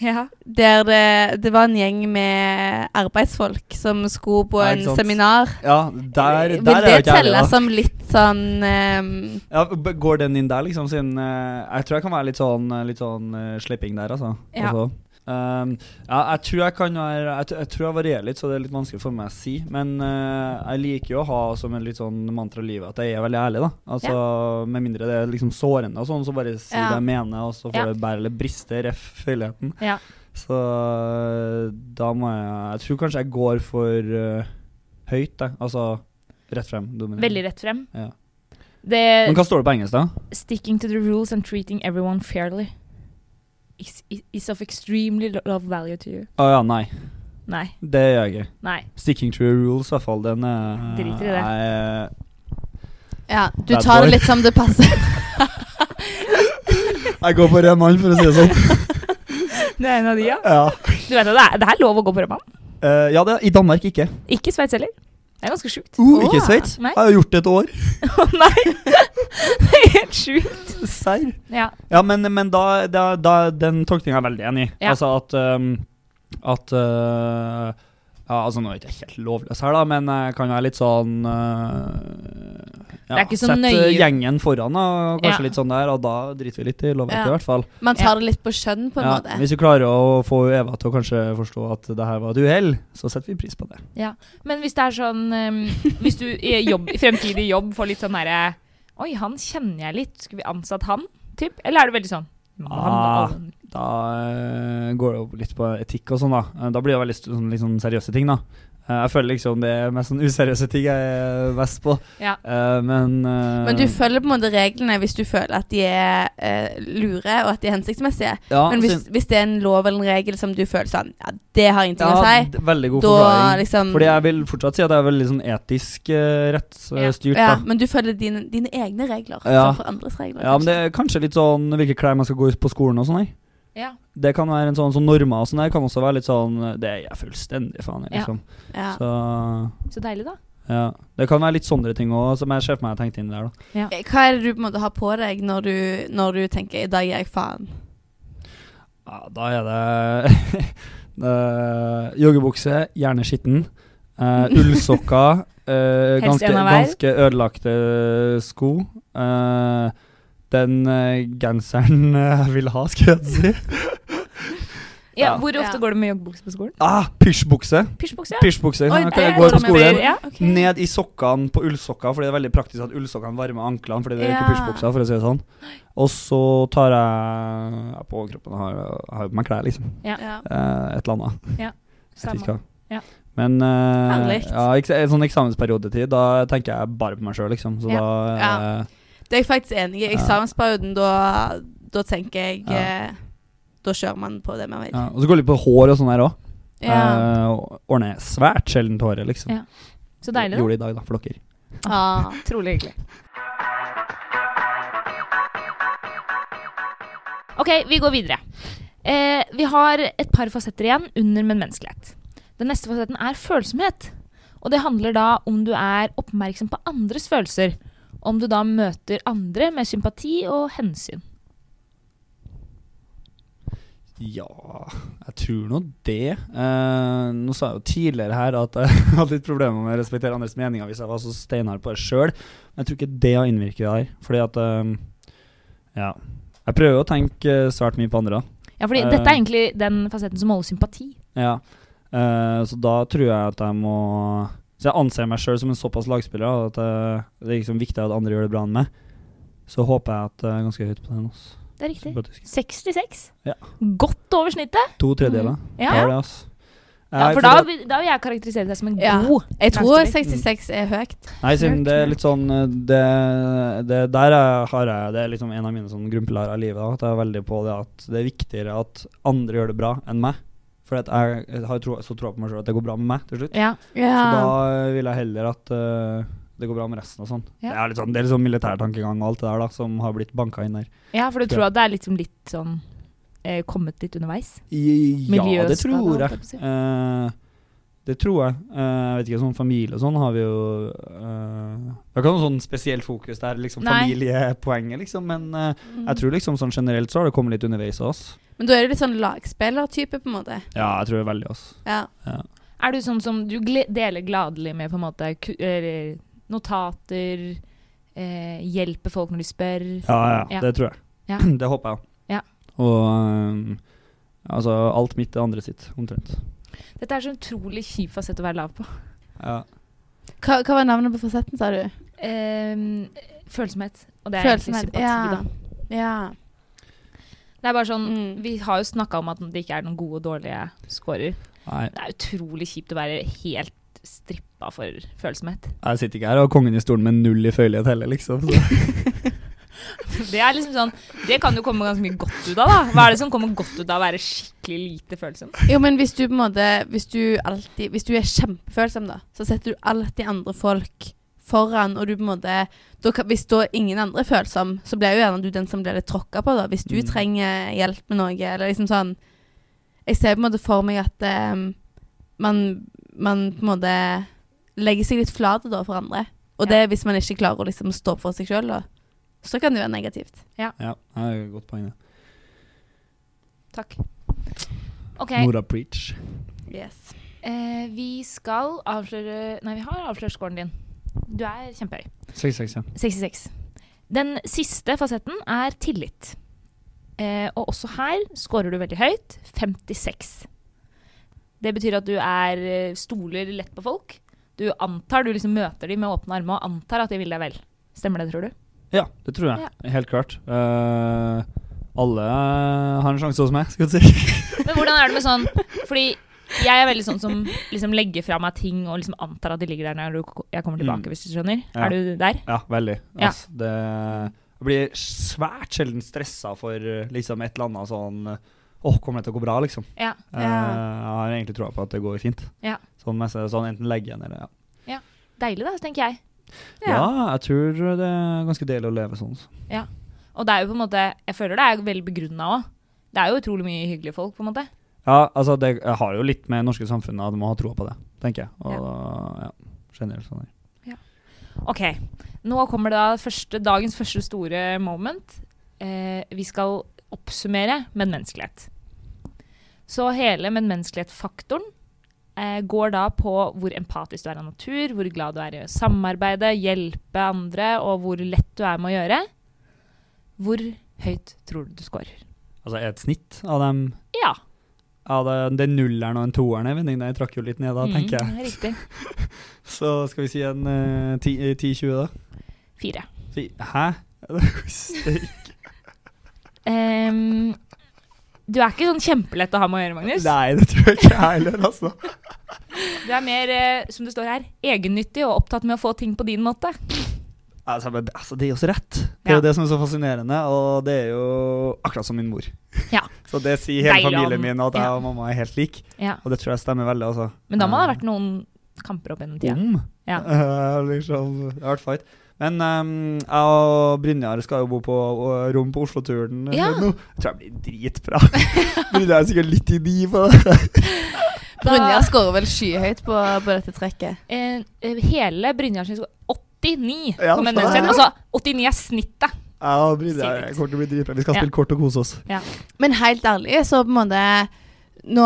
ja.
Der det, det var en gjeng med arbeidsfolk som skulle på
Ja,
en
ikke sant.
seminar.
Ja, der, der
Vil
er
det
jeg ikke ærlig,
telle
da.
som litt sånn ehm,
Ja, b- går den inn der, liksom? Siden eh, jeg tror jeg kan være litt sånn, eh, litt sånn eh, slipping der, altså.
Ja.
Også. Um, ja, jeg tror jeg kan være jeg, t- jeg tror jeg varierer litt, så det er litt vanskelig for meg å si. Men eh, jeg liker jo å ha som en litt sånn mantra i livet at jeg er veldig ærlig, da. Altså, Med mindre det er liksom sårende og sånn, så bare si
Ja.
det jeg mener, og så får
Ja.
det bære eller briste, ref. føyeligheten.
Ja.
Så eh, da må jeg Jeg tror kanskje jeg går for eh, høyt, jeg. Altså rett frem. dominerende.
Veldig rett frem.
Ja.
Det
Men hva står det på engelsk, da?
'sticking to the rules and treating everyone fairly' is, is of extremely lo- of value to you.
Å ja, nei.
Nei.
Det gjør jeg ikke.
Nei.
Sticking to the rules, i hvert fall. Den eh,
Driter i det.
er-
Ja, du
Bad
tar
boy.
det litt som det passer.
Jeg går på rød mann, for å si det sånn. [LAUGHS]
Det er en av de, ja.
Ja,
Du vet at det er, det er lov å gå på rødmann.
Eh, ja det, i Danmark ikke.
Ikke Sveits heller. Det er ganske sjukt.
Uh,
Åh.
ikke i Sveits.
Nei. [LAUGHS]
Jeg har gjort det et år.
Å nei! [LAUGHS] Det er helt sjukt.
Serr.
Ja.
Ja, men, men da, da, da Den tolkninga er jeg veldig enig i.
Ja.
Altså at um, At uh, ja, altså Nå er jeg ikke helt lovløs her, da, men jeg kan være litt sånn uh, ja,
Det er ikke så
sett, uh,
nøye.
gjengen foran, da, og kanskje
Ja.
litt sånn der, og da driter vi litt i lovverket,
Ja.
i hvert fall.
[LAUGHS] Man tar det litt på skjønn, på en
Ja,
måte.
hvis vi klarer å få Eva til å kanskje forstå at det her var et uhell, så setter vi pris på det.
Men hvis det er sånn ehm, Hvis du i, jobb, i fremtidig jobb får litt sånn derre Oi, han kjenner jeg litt. Skulle vi ansatt han? Typ? Eller er det veldig sånn
Ah.
han,
Da eh, går det jo litt på etikk og sånn, da. Eh, Da blir det veldig st- sånn, litt sånn seriøse ting, da. Eh, Jeg føler liksom det er mest sånn useriøse ting jeg er best på.
Ja.
Eh, Men eh,
Men du følger på en måte reglene hvis du føler at de er eh, lure, og at de er hensiktsmessige.
ja,
Men hvis,
syn-
hvis det er en lov eller en regel som du føler sånn Ja, det har ingenting å
ja,
si.
d- Veldig god
Da
forklaring.
liksom
Fordi jeg vil fortsatt si at jeg er veldig sånn etisk eh, rettsstyrt,
ja,
da.
Men du følger dine, dine egne regler
Ja.
som for andres regler.
Ja, men det
kanskje.
er kanskje litt sånn hvilke klær man skal gå i på skolen og sånn, nei.
ja.
Det kan være en sånn, sånn normer og sånn der. Kan også være litt sånn eh, Det er jeg fullstendig faen i,
Ja.
liksom.
ja.
Så
Så deilig, da.
Ja. Det kan være litt sånne ting òg, som jeg ser for meg jeg tenkte inn der. da.
Eh, Hva er det du på en måte har på deg når du, når du tenker 'i dag gir jeg faen'?
Ja, da er det [LAUGHS] eh, Joggebukse, gjerne skitten.
[LAUGHS]
eh, ullsokker. eh,
Helst
ganske,
en av hver.
ganske ødelagte sko. eh, den eh, genseren eh, jeg vil ha, skal jeg si.
Ja,
Ja.
Hvor ofte
Ja.
går du med joggebukse på skolen?
Ah, Pysjbukse.
Pysjbukse, ja.
Pysjbukse
Oi,
kan
det
jeg
er
gå
sånn
på skolen.
jeg
Ja.
Ok.
Ned i sokkene på ullsokker, fordi det er veldig praktisk at ullsokkene varmer anklene. Fordi det er ikke
Ja.
pysjbukser, for å si det sånn. Og så tar jeg ja, på kroppen og har, har på meg klær, liksom.
Ja.
Ja.
Eh, et eller annet. Jeg vet
Samme.
ikke hva.
Ja.
Men eh,
Herlig.
ja, ek en sånn eksamensperiodetid, da tenker jeg bare på meg sjøl, liksom. Så
Ja.
da
Ja.
eh,
Det er jeg faktisk enig i. I
Ja.
eksamensperioden, da, da tenker jeg
Ja.
eh, Da kjører man på det man vil.
ja. Eh, Og så går det litt på hår og sånn her òg.
Ja.
ordner jeg svært sjeldent håret, liksom.
Ja. Så deilig, da.
Gjorde det i dag, da, for dere.
Ah.
Utrolig hyggelig. Ok, vi går videre. Eh, vi har et par fasetter igjen under min menneskelighet. Den neste fasetten er følsomhet. Og det handler da om du er oppmerksom på andres følelser. Om du da møter andre med sympati og hensyn.
Ja, jeg tror nå det. Eh, nå sa jeg jo tidligere her at jeg [LAUGHS] hadde litt problemer med å respektere andres meninger hvis jeg var så steinhard på det sjøl, men jeg tror ikke det har innvirket der. Fordi at eh, Ja. Jeg prøver jo å tenke eh, svært mye på andre. da.
Ja, fordi
Eh.
dette er egentlig den fasetten som holder sympati.
Ja. Eh, så da tror jeg at jeg må Så jeg anser meg sjøl som en såpass lagspiller da, at eh, det er liksom viktigere at andre gjør det bra enn meg. Så håper jeg at jeg er ganske høyt på den. altså.
Det er riktig.
Sympatisk.
66.
Ja.
Godt over snittet.
To tredjedeler.
Mm. Ja.
Tar det, altså.
Ja,
Jeg-
for da, vil- da vil jeg karakterisere deg som en
Ja.
god
Jeg tror
Langstrekk.
66 er høyt.
Nei, siden det er litt sånn eh, det, det Der er- har jeg Det er liksom en av mine sånn grunnpilarer i livet. da, At jeg er veldig på det at det er viktigere at andre gjør det bra enn meg. For at jeg har tro, så troa på meg sjøl at det går bra med meg til slutt.
Ja.
Så da eh, vil jeg heller at eh, det går bra med resten og sånn.
Ja.
Det er litt sånn, det er litt sånn militærtankegang og alt det der da, som har blitt banka inn der.
Ja, for du
Tror
tror
jeg.
at det er liksom litt sånn eh, Kommet litt underveis?
ja, det
Miljøskade,
tror
holdt
jeg.
jeg på å si.
Eh, det tror jeg. Eh, jeg vet ikke, sånn familie og sånn har vi jo eh, Det er ikke noe sånn spesielt fokus der, liksom
Nei.
familiepoenget, liksom, men eh,
Mm.
jeg tror liksom sånn generelt så har det kommet litt underveis av oss.
Men da er du litt sånn lagspillertype, på en måte.
Ja, jeg tror det er veldig oss.
Ja.
Er du sånn som du gle- deler gladelig med på en måte ku- eller notater, eh, hjelper folk når de spør?
Ja, ja,
Ja.
det tror jeg.
Ja.
[CLEARS THROAT] Det håper jeg.
Ja.
Og eh, altså alt mitt er andre sitt, omtrent.
Dette er så utrolig kjip fasett å være lav på.
Ja.
Hva, hva var navnet på fasetten, sa du?
Eh, følsomhet. Og det er egentlig
Følsomhet.
sympati,
Ja.
da.
ja.
Det er bare sånn
Mm.
Vi har jo snakka om at det ikke er noen gode og dårlige scorer.
Nei,
Det er utrolig kjipt å være helt strippa for følsomhet.
jeg sitter ikke her og har kongen i stolen med null i føyelighet heller, liksom. Så.
[LAUGHS] Det er liksom sånn Det kan jo komme ganske mye godt ut av, da. Hva er det som kommer godt ut av å være skikkelig lite følsom?
Jo, men hvis du på en måte Hvis du alltid Hvis du er kjempefølsom, da, så setter du alltid andre folk foran, og du på en måte da, kan- Hvis da ingen andre er følsom, så blir jo gjerne du den som blir litt tråkka på, da. Hvis du
Mm.
trenger hjelp med noe, eller liksom sånn Jeg ser på en måte for meg at eh, man, man på en måte legger seg litt flat da for andre. Og
Ja.
det er hvis man ikke klarer å liksom stå opp for seg sjøl, da. Så kan det være negativt.
Ja, det er et godt poeng. det.
Takk. OK.
Nora preach.
Yes.
Eh, vi skal avsløre Nei, vi har avslørt scoren din. Du er kjempehøy.
66, ja.
66. Den siste fasetten er tillit. Eh, og også her scorer du veldig høyt. 56. Det betyr at du er, eh, stoler lett på folk. Du antar, du liksom møter dem med åpne armer og antar at de vil deg vel. Stemmer det, tror du?
Ja, det tror jeg. Helt klart. Eh, alle eh, har en sjanse hos meg, skal du si.
Men hvordan er det med sånn Fordi jeg er veldig sånn som liksom legger fra meg ting og liksom antar at de ligger der når du- jeg kommer tilbake,
Mm.
hvis du skjønner.
Ja.
Er du der?
Ja, veldig.
Ja.
Altså, det jeg blir svært sjelden stressa for eh, liksom et eller annet sånn eh, Åh, kommer det til å gå bra, liksom?
Ja.
Eh,
Ja.
jeg har egentlig troa på at det går fint.
Ja.
Sånn, mest, sånn enten legge igjen eller ja.
Deilig, da, tenker jeg.
ja. jeg tror det er ganske deilig å leve sånn. så.
Og det er jo på en måte Jeg føler det er veldig begrunna òg. Det er jo utrolig mye hyggelige folk, på en måte.
Ja, altså, det jeg har jo litt med det norske samfunnet at man har troa på det, tenker jeg. Og ja, generelt sånn. der.
Ok, nå kommer det da første, dagens første store moment. Eh, vi skal oppsummere medmenneskelighet. Så hele medmenneskelighet-faktoren eh, går da på hvor empatisk du er av natur, hvor glad du er i å samarbeide, hjelpe andre, og hvor lett du er med å gjøre. Hvor høyt tror du du scorer?
Altså, et snitt av dem
Ja.
ja, det, det er nulleren og en toeren jeg vet ikke, jeg trakk jo litt ned da, tenker jeg.
Mm, riktig.
Så skal vi si en eh, ti- eh, 10-20, da.
Fire.
Fy- Hæ? [LAUGHS] Steik.
Ehm, du er ikke sånn kjempelett å ha med å gjøre, Magnus.
Nei, det tror jeg ikke jeg heller, altså.
Du er mer, eh, som det står her, egennyttig og opptatt med å få ting på din måte.
Altså, men, det- altså det er jo så rett. Det er jo
Ja.
det som er så fascinerende, og det er jo akkurat som min mor.
Ja.
Så det sier hele
Deilig,
familien
han.
min, at jeg
Ja.
og mamma er helt like,
Ja.
og det tror jeg stemmer veldig, altså.
Men da må det ha vært noen kamper opp gjennom tida.
Om.
Ja.
[LAUGHS] Eh, liksom, det har vært fight. Men ehm, jeg og Brynjar skal jo bo på eh, rom på Oslo-turen. eh,
Ja.
nå. Jeg tror jeg blir dritbra. [LAUGHS] Brynjar er sikkert litt i de på det.
Da-
Brynjar scorer vel skyhøyt på, på dette trekket.
Eh, eh, hele Brynjar sin skole 89
Ja,
kom en
faen.
menneskerett. Altså, 89 er snittet.
Jeg og Brynjar
Sikkert.
kommer til å bli dritbra. Vi skal
Ja.
spille kort og kose oss.
Men helt ærlig, så på en måte Nå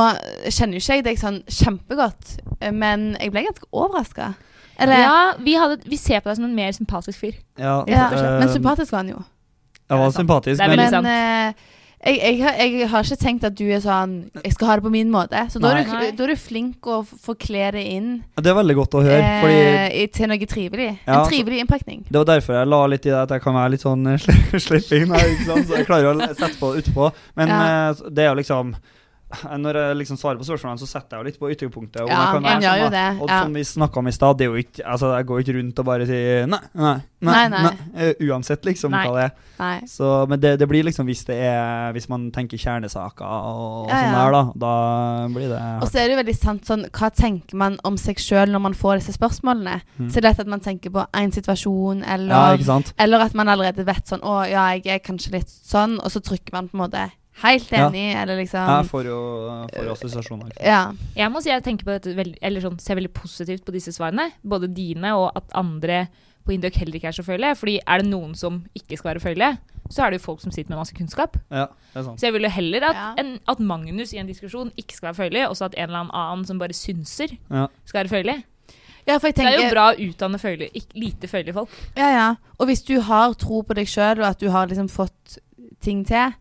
kjenner jo ikke jeg deg sånn kjempegodt, men jeg ble ganske overraska. Eller ja,
Ja, vi, hadde, vi ser på deg som en mer sympatisk fyr.
Ja,
rett og slett. Men sympatisk var han jo.
Eh, Jeg
Ja, det
var
er sant.
sympatisk,
Det er
men
veldig
Men eh, jeg, jeg, har- jeg har ikke tenkt at du er sånn Jeg skal ha det på min måte. Så da er,
Nei.
du, da er du flink å f- få kle det inn
det er veldig godt å høre. Fordi
eh, i- til noe trivelig.
Ja, altså-
en trivelig innpakning.
det var derfor jeg la litt i det at jeg kan være litt sånn eh, sli- [LAUGHS] slipping. her, ikke sant? Så jeg klarer å le- sette på det utpå. Men
Ja.
eh, det er jo liksom eh, når jeg liksom svarer på spørsmålene, så setter jeg jo litt på ytterpunktet. om
Ja,
jeg kan
en
være
gjør jo
sånn, da.
det,
Og
ja.
som vi snakka om i stad, det er jo ikke Altså, jeg går ikke rundt og bare sier nei, nei, nei.
Nei, nei.
eh, uansett, liksom,
Nei.
hva det er.
Nei.
Så, men det, det blir liksom hvis det er Hvis man tenker kjernesaker og, og
Ja,
sånn
ja.
der, da. Da blir det
Og
hardt.
så er det jo veldig sant sånn Hva tenker man om seg sjøl når man får disse spørsmålene?
Mm.
Så det er lett at man tenker på én situasjon,
Ja,
eller
ikke sant?
Eller at man allerede vet sånn Å ja, jeg er kanskje litt sånn, og så trykker man på en måte helt
Ja.
enig, eller
Jeg
liksom
får jo får jo assosiasjoner. liksom.
Ja.
Jeg må si jeg tenker på dette veldig, eller sånn, ser veldig positivt på disse svarene. Både dine og at andre på Indøk heller ikke er så følelige. Fordi er det noen som ikke skal være følelige, så er det jo folk som sitter med masse kunnskap.
Ja, det er
Så
sant.
jeg vil jo heller at,
Ja.
en, at Magnus i en diskusjon ikke skal være følelig, og så at en eller annen annen som bare synser,
Ja.
skal være følelig.
ja, for jeg
Det er jo
tenker
bra å utdanne følelig, ikke, lite følelige folk.
Ja, ja. Og hvis du har tro på deg sjøl, og at du har liksom fått ting til,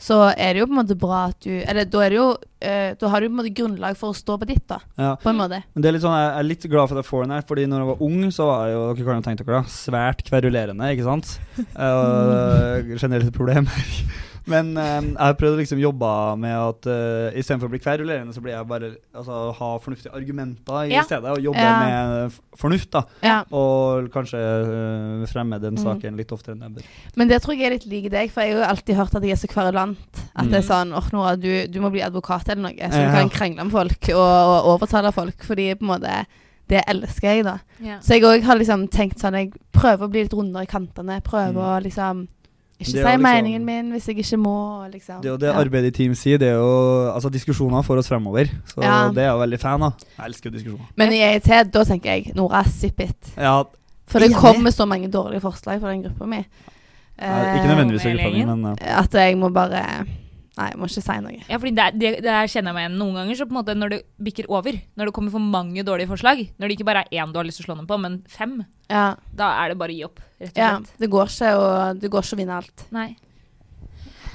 så er det jo på en måte bra at du Eller da er det jo eh, Da har du på en måte grunnlag for å stå på ditt, da.
Ja.
På en måte.
Men det er litt sånn, jeg er litt glad for at jeg får den her, Fordi når jeg var ung, så var jeg jo dere kan jo tenke dere da, svært kverulerende. ikke sant? Eh, generelt problem. [LAUGHS] Men eh, jeg har prøvd å liksom jobbe med at eh, istedenfor å bli kverulerende, så blir jeg bare altså, ha fornuftige argumenter i
Ja.
stedet. Og jobbe
Ja.
med f- fornuft, da.
Ja.
Og kanskje eh, fremme den
Mm.
saken litt oftere enn jeg bør.
Men det tror jeg er litt lik deg, for jeg har jo alltid hørt at jeg er så kverulant. At det er
Mm.
sånn åh Nora, du, du må bli advokat eller noe, så du
Ja.
kan krangle med folk og, og overtale folk. Fordi på en måte Det elsker jeg, da.
Ja.
Så jeg òg har liksom tenkt sånn Jeg prøver å bli litt rundere i kantene. Prøver
Mm.
å liksom ikke
Det
si
er jo liksom-
meningen min hvis jeg ikke må, og liksom.
Det er jo det
ja.
arbeidet i Team sier, det er jo altså, diskusjoner får oss fremover. Så
Ja.
det er jeg veldig fan av. Jeg elsker jo diskusjoner.
Men i EIT, da tenker jeg Nora, zip it.
Ja,
For det
Enig.
kommer så mange dårlige forslag fra den gruppa mi.
eh, ikke
Eh,
nødvendigvis i gruppa mi, men eh,
At jeg må bare Nei, jeg må ikke si noe.
Ja, fordi der, det, der kjenner jeg meg igjen noen ganger. Så på en måte når det bikker over, når det kommer for mange dårlige forslag, når det ikke bare er én du har lyst til å slå ned på, men fem,
Ja,
da er det bare å gi opp. Rett og
ja
slett.
det, går ikke å, det går ikke å vinne alt.
Nei.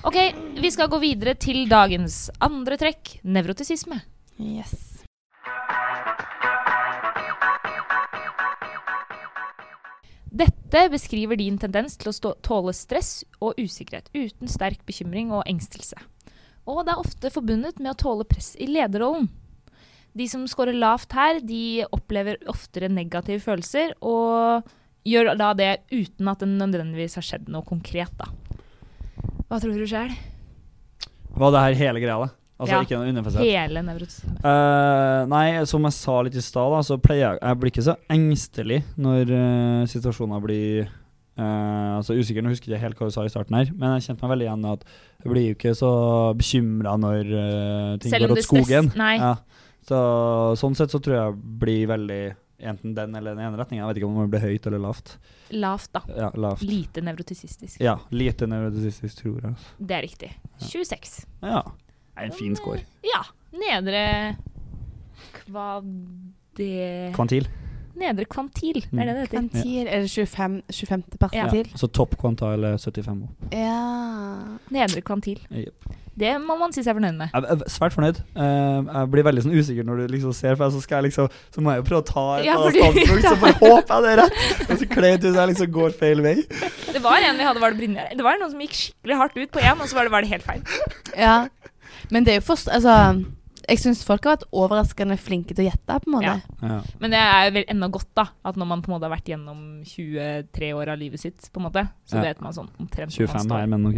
OK, vi skal gå videre til dagens andre trekk, nevrotisisme.
Yes.
Dette beskriver din tendens til å stå, tåle stress og usikkerhet uten sterk bekymring og engstelse. Og det er ofte forbundet med å tåle press i lederrollen. De som scorer lavt her, de opplever oftere negative følelser, og gjør da det uten at det nødvendigvis har skjedd noe konkret, da. Hva tror du sjøl?
var det her hele greia, da? Altså
Ja.
ikke noe underfasert?
Hele nevrotisisme.
Eh, nei, som jeg sa litt i stad, da, så pleier jeg Jeg blir ikke så engstelig når eh, situasjoner blir eh, altså usikker. Nå husker jeg ikke helt hva du sa i starten her, men jeg kjente meg veldig igjen i at jeg blir jo ikke så bekymra når eh, ting
Selv om
går
det
åt skogen.
stress- nei.
Ja. Så, sånn sett så tror jeg jeg blir veldig enten den eller den ene retningen. Jeg vet ikke om det blir høyt eller lavt.
Lavt, da.
Ja, lavt.
Lite nevrotisistisk.
Ja, lite nevrotisistisk, tror jeg. altså.
Det er riktig. 26.
Ja. Det er en fin score.
Ja. Nedre kvade...
Kvantil.
Nedre kvantil, det er det
Mm.
det heter.
Kvantil Er det 25. 25. partil?
Så topp kvanta eller 75 eh, år.
Ja.
Nedre kvantil. Det må man si seg fornøyd med.
Jeg er svært fornøyd. Eh, jeg blir veldig sånn usikker når du liksom ser, for så, skal jeg liksom, så må jeg jo prøve å ta et
Ja,
annet
fordi-
standpunkt,
[LAUGHS]
så bare håper jeg det er rett. Og så kler det ut jeg liksom går feil vei.
Det var en vi hadde, var det Brynjar? Det var noen som gikk skikkelig hardt ut på én, og så var det, var det helt feil.
ja. Men det er jo først Altså, jeg syns folk har vært overraskende flinke til å gjette, på en måte.
Ja. Men det er vel enda godt, da. At når man på en måte har vært gjennom 23 år av livet sitt, på en måte, så
Ja.
vet man sånn omtrent hvor man
25
står.
her, men ok.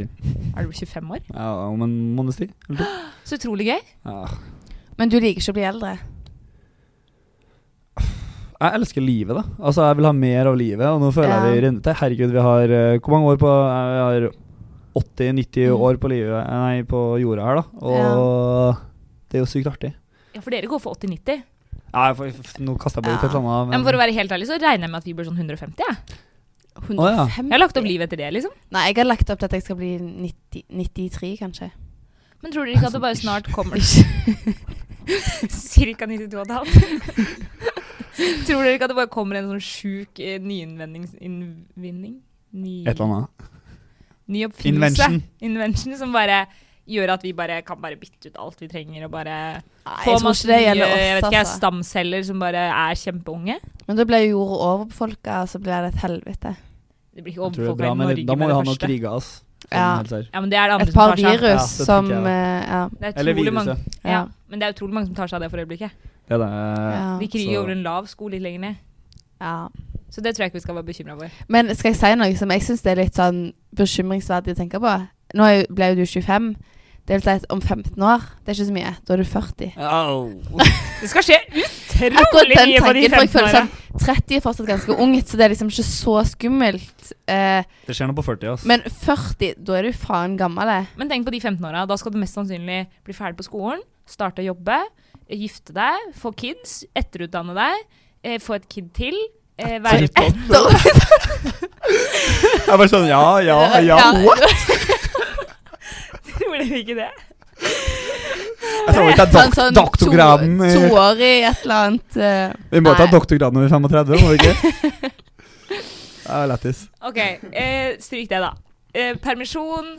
Er du 25 år?
Ja, om en måneds tid. eller to.
Så utrolig gøy.
Ja.
Men du liker ikke å bli eldre?
Jeg elsker livet, da. Altså, jeg vil ha mer av livet, og nå føler
Ja.
jeg det renner til. Herregud, vi har eh, Hvor mange år på Jeg har 80-90
Mm.
år på livet Nei, på jorda her, da. Og det er jo sykt artig.
Ja, for dere går for 80-90.
Nei, for, f- nå kaster jeg meg ut på et
Ja.
eller annet.
Men for å være helt ærlig, så regner jeg med at vi blir sånn 150, jeg.
150?
ja.
Jeg har lagt opp livet etter det, liksom.
Nei, jeg har lagt opp til at jeg skal bli 90, 93, kanskje.
Men tror dere ikke at det bare snart kommer
[LAUGHS]
Cirka 92,5. [LAUGHS] tror dere ikke at det bare kommer en sånn sjuk eh, nyinnvinning? Ny,
Et eller annet.
ny oppfinnelse?
Invention.
Invention som bare gjør at vi bare kan bare bytte ut alt vi trenger og bare
Nei,
få
jeg tror
masse
ikke det gjelder
nye, eh, jeg
oss,
vet ikke,
altså.
stamceller som bare er kjempeunge.
Men da blir jo jorda overbefolka, og så blir det et helvete.
Det blir ikke
Jeg tror det er
overfolka
bra
i
med,
Norge
da må
med
vi
det
ha noen
første.
kriger, ass. Sånn
Ja.
helt seriøst.
Ja, men det er det andre
Et
som
par
tar seg av.
Ja,
virus
det tenker
som
jeg også.
eh, ja.
Det er
Eller
utrolig mange.
viruset.
Ja. Men det er utrolig mange som tar seg av det for øyeblikket.
Ja, det
ja.
De kriger
Så-
over en lav sko litt lenger ned.
ja.
Så det tror jeg ikke vi skal være bekymra for.
Men skal jeg si noe som jeg syns er litt sånn bekymringsverdig å tenke på? Nå er jo- ble jo du 25. Det vil si at om 15 år, det er ikke så mye. Da er du 40.
Au.
Det skal skje
Akkurat
utrolig
den
mye på de
tanken, for
15
jeg føler
åra.
sånn 30 er fortsatt ganske ungt, så det er liksom ikke så skummelt. Eh,
Det skjer noe på 40, ass.
men 40, da er du faen gammel, eh. det.
Men tenk på de 15 åra. Da skal du mest sannsynlig bli ferdig på skolen, starte å jobbe, gifte deg, få kids, etterutdanne deg, eh, få et kid til. Eh, være [LAUGHS]
Da-
Jeg er bare sånn ja, ja, ja.
[LAUGHS]
Tror dere ikke det?
Jeg tror
[LAUGHS]
ikke det er
sånn
dok doktorgraden
Sånn
eh.
to,
i-
to år i et eller annet eh,
Vi må ta
Nei.
doktorgrad når vi er 35, må vi ikke?
[LAUGHS]
Det er lættis.
OK, eh, stryk det, da. Eh, permisjon,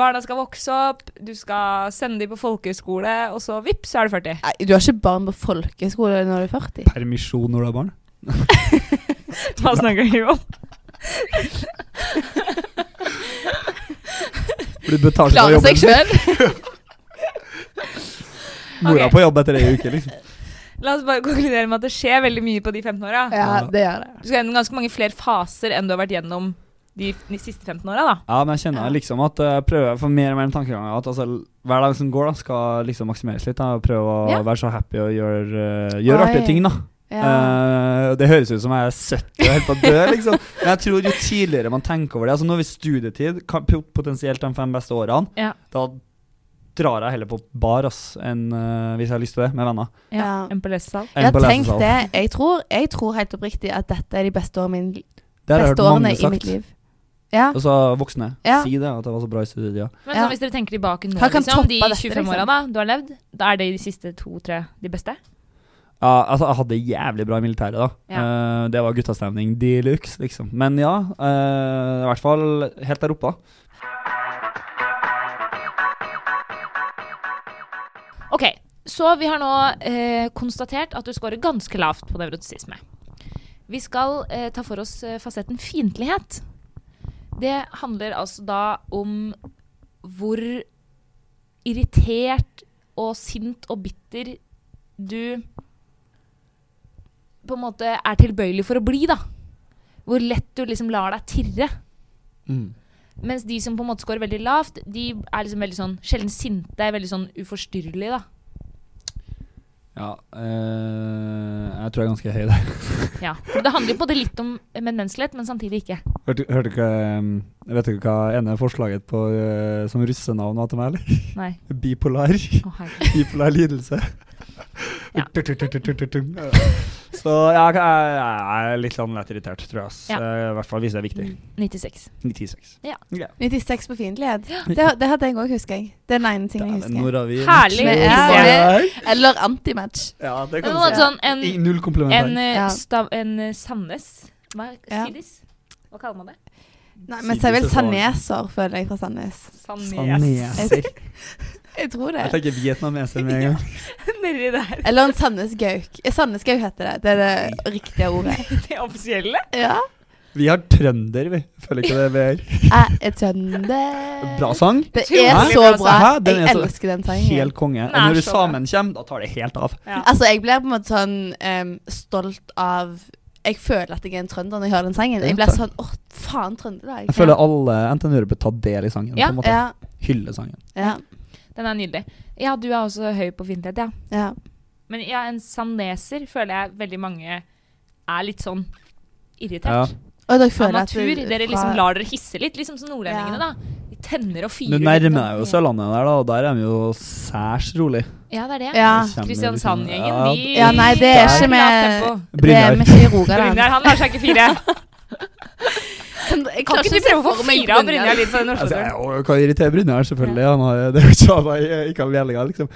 barna skal vokse opp, du skal sende dem på folkehøyskole, og så vips, så er du 40.
Nei, Du har ikke barn på folkeskole når du er 40?
Permisjon når du har barn?
[LAUGHS]
Hva snakker du om?
blitt betalt for
Klare
jobben.
seg sjøl.
Mora
Ok.
på jobb etter ei uke, liksom.
La oss bare konkludere med at det skjer veldig mye på de 15 åra.
Ja,
det gjør det.
Du skal gjennom ganske mange flere faser enn du har vært gjennom de, de siste 15 åra, da.
[LAUGHS] Ja, men jeg kjenner liksom at eh, jeg prøver for mer og mer en tankegang at altså, hver dag som går, da, skal liksom maksimeres litt. Da, og prøve å
Ja.
være så happy og gjøre, eh, gjøre
Oi.
artige ting, da.
Ja.
Eh, og det høres ut som jeg er 70 og helt på å dø, liksom. Men jeg tror jo tidligere man tenker over det Altså Nå har vi studietid, kan- po- potensielt de fem beste årene.
Ja.
Da drar jeg heller på bar ass, enn eh, hvis jeg har lyst til det, med venner.
Ja.
En palestsal.
Enn
Jeg
på
har tenkt
lesesal.
det. Jeg tror, jeg tror helt oppriktig at dette er de beste årene, min,
Det har jeg
beste
hørt
årene
mange
i
sagt.
mitt liv. Ja.
Og så voksne.
Ja.
Si det, at det var så bra i studietida.
Men
Ja.
sånn, hvis dere tenker tilbake nå,
Hva kan
liksom,
toppe
de
dette, liksom.
25 åra da du har levd, da er det de siste to-tre de beste?
Ja, altså, jeg hadde det jævlig bra i militæret, da. Eh, det var guttastemning de luxe, liksom. Men ja, eh, i hvert fall helt der oppe, da.
Ok, så vi har nå eh, konstatert at du scorer ganske lavt på nevrotisisme. Vi skal eh, ta for oss eh, fasetten fiendtlighet. Det handler altså da om hvor irritert og sint og bitter du på en måte er tilbøyelig for å bli, da. Hvor lett du liksom lar deg tirre. Mens de som på en måte scorer veldig lavt, de er liksom veldig sånn sjelden sinte, veldig sånn uforstyrrelige, da.
Ja, eh, jeg tror jeg er ganske høy der.
Ja. For det handler jo på en måte litt om medmenneskelighet, men samtidig ikke.
Hørte, hørte ikke, eh, vet du hva ene forslaget på, eh, som russenavn var til meg, eller?
Nei.
[LAUGHS] Bipolar.
Å, herregud.
Bipolar [LAUGHS] lidelse.
Ja.
Så ja, jeg, jeg er litt sånn lett irritert, tror jeg. ass.
Ja. Mm.
Eh, I hvert fall hvis det er viktig.
96.
96.
96 på fiendtlighet. Det, det hadde jeg òg, husker jeg. Det er den ene tingen jeg
Dæven,
husker.
Nora, vi sånn-
Herlig,
ja.
Bipolar.
Eller antimatch.
Ja, det
Men
kan
det
du
var
si.
sånn en,
I null komplimenter.
en, eh,
Ja.
stav, en eh, Sandnes Hva
Ja.
Sidis? Hva kaller man det?
Nei, men
Sidis
så er vel
er så vanlig.
sandneser, føler jeg, fra Sandnes.
Sandnes.
Sandneser.
Jeg tror
Jeg
det.
tenker vietnameser med
[LAUGHS]
en gang.
Nedi der.
Eller en sandnesgauk. Eh, Sandnesgauk heter det. Det er det riktige ordet.
Det offisielle.
Ja.
Vi har trønder, vi. Føler ikke det vi er.
[LAUGHS]
Jeg er trønder.
Bra sang.
Det er
Utrolig
så
bra
bra.
sang. Hæ? Den er
Jeg
så-
elsker den sangen.
Helt konge. Og
Nei,
når du
så bra.
sammen kommer, da tar det helt av.
Ja.
Altså, jeg blir på en måte sånn em, stolt av Jeg føler at jeg er en trønder når jeg hører den sangen. Jeg blir sånn Å, faen, Trøndelag.
Jeg føler alle NTNU-ere bør ta del i sangen.
Ja.
på en måte.
Ja.
Hylle sangen.
Ja.
Den er nydelig. Ja, du er også høy på fiendtlighet, ja.
ja.
Men ja, en sandneser føler jeg veldig mange er litt sånn
Ja.
irritert.
Og dere
Av
føler at
natur. Dere liksom
fra-
lar dere hisse litt, liksom som nordlendingene,
Ja.
da. De tenner og
Du
fyrer.
nærmer
litt, da.
deg jo Sørlandet der, da, og der er vi jo særs rolig.
Ja, det er det.
Ja.
Kjenner
Kristiansand-gjengen,
liksom-
de
Ja, nei, det er
tar
ikke
lavt tempo.
med Det er
Brynjar.
med ikke i
Brynjar,
Rogaland.
han lar seg ikke fire.
Kan, jeg
Kan
klarer
ikke
ikke
du
å se
prøve å
for
få
meg
fire av Brynjar
Brynjar.
litt på den
Altså,
norske
jeg og- kan irritere Brynjar, selvfølgelig. Han har, det er jo ikke av meg, ikke av meldinga, liksom.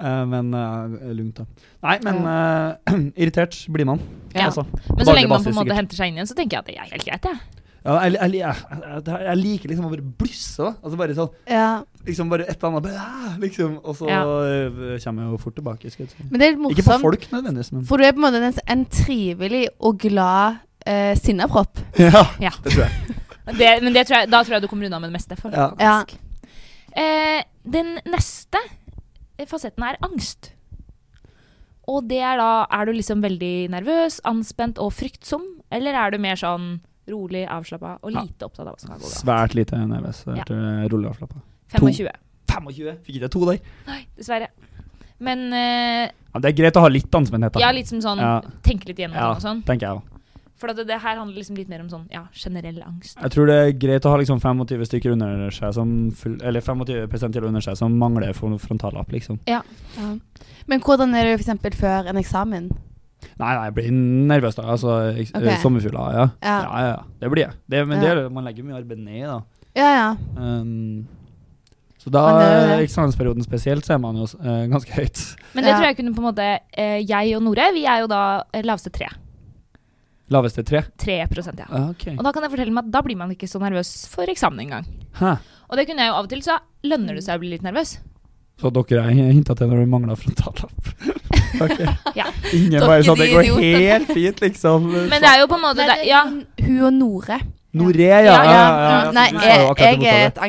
Eh, men eh, lugnt, da. Nei, men eh, [CLEARS THROAT] irritert blir man,
Ja.
altså.
Men så lenge man på
Daglig
en
basis,
måte
sikkert.
henter seg inn igjen, så tenker jeg at det er helt greit, jeg.
Ja, jeg, jeg, jeg, jeg, jeg liker liksom å bare blusse, da. Altså bare sånn
Ja.
liksom bare et eller annet bare, "Ah!" liksom, Og så
Ja.
eh, kommer jeg jo fort tilbake. Skal jeg si.
Men det er litt
Ikke på
morsomt.
folk nødvendigvis, men
For du er på en måte en, en trivelig og glad eh, sinnapropp.
ja,
Ja.
det tror jeg.
Det, men det tror jeg, da tror jeg du kommer unna med det meste. For.
Ja.
Ja.
Eh, den neste fasetten er angst. Og det er da Er du liksom veldig nervøs, anspent og fryktsom? Eller er du mer sånn rolig, avslappa og
Ja.
lite opptatt av hva som kan gå bra?
[LAUGHS] Svært lite nervøs.
Ja.
Jeg tror jeg ruller av slappa.
25.
25? Fikk ikke jeg to der?
Nei, dessverre. Men eh,
Ja, det er greit å ha litt anspenthet, da.
ja, litt som sånn
Ja.
Tenke litt igjennom
Ja,
og sånn.
tenker jeg òg.
For at det, det her handler liksom litt mer om sånn ja, generell angst.
Jeg tror det er greit å ha liksom 25 stykker under seg som full, Eller 25 til under seg som mangler for frontallapp, liksom.
Ja. Men hvordan er det f.eks. før en eksamen?
Nei, nei, jeg blir nervøs da. Altså ek-
Ok.
eh, sommerfugler, ja. Ja.
Ja.
ja. ja, Det blir jeg. Det, men det
Ja.
er det, man legger mye arbeid ned i, da.
Ja, ja.
Um, så
Man gjør jo
da,
det.
eksamensperioden spesielt, så er man jo eh, ganske høyt.
Men det
Ja.
tror jeg kunne på en måte eh, Jeg og Nore, vi er jo da eh, laveste tre.
Laveste tre.
3 ja.
Ah, Ok.
Og da kan jeg fortelle meg at da blir man ikke så nervøs for eksamen engang.
Hæ.
Og det kunne jeg jo av og til, så lønner det seg å bli litt nervøs.
Så dere har hinta til når du mangla frontallapp? [LAUGHS] Ok.
Ja.
Ingen
Dere
bare sånn
de
Det går
idiotene.
helt fint, liksom.
Men det er jo på en måte
Nei,
det,
det er
Ja.
sånn hun og Nore.
Noré, ja. ja, ja, ja, ja.
Mm, Nei,
Du sa jo
jeg,
akkurat det
jeg er
motsatte.
et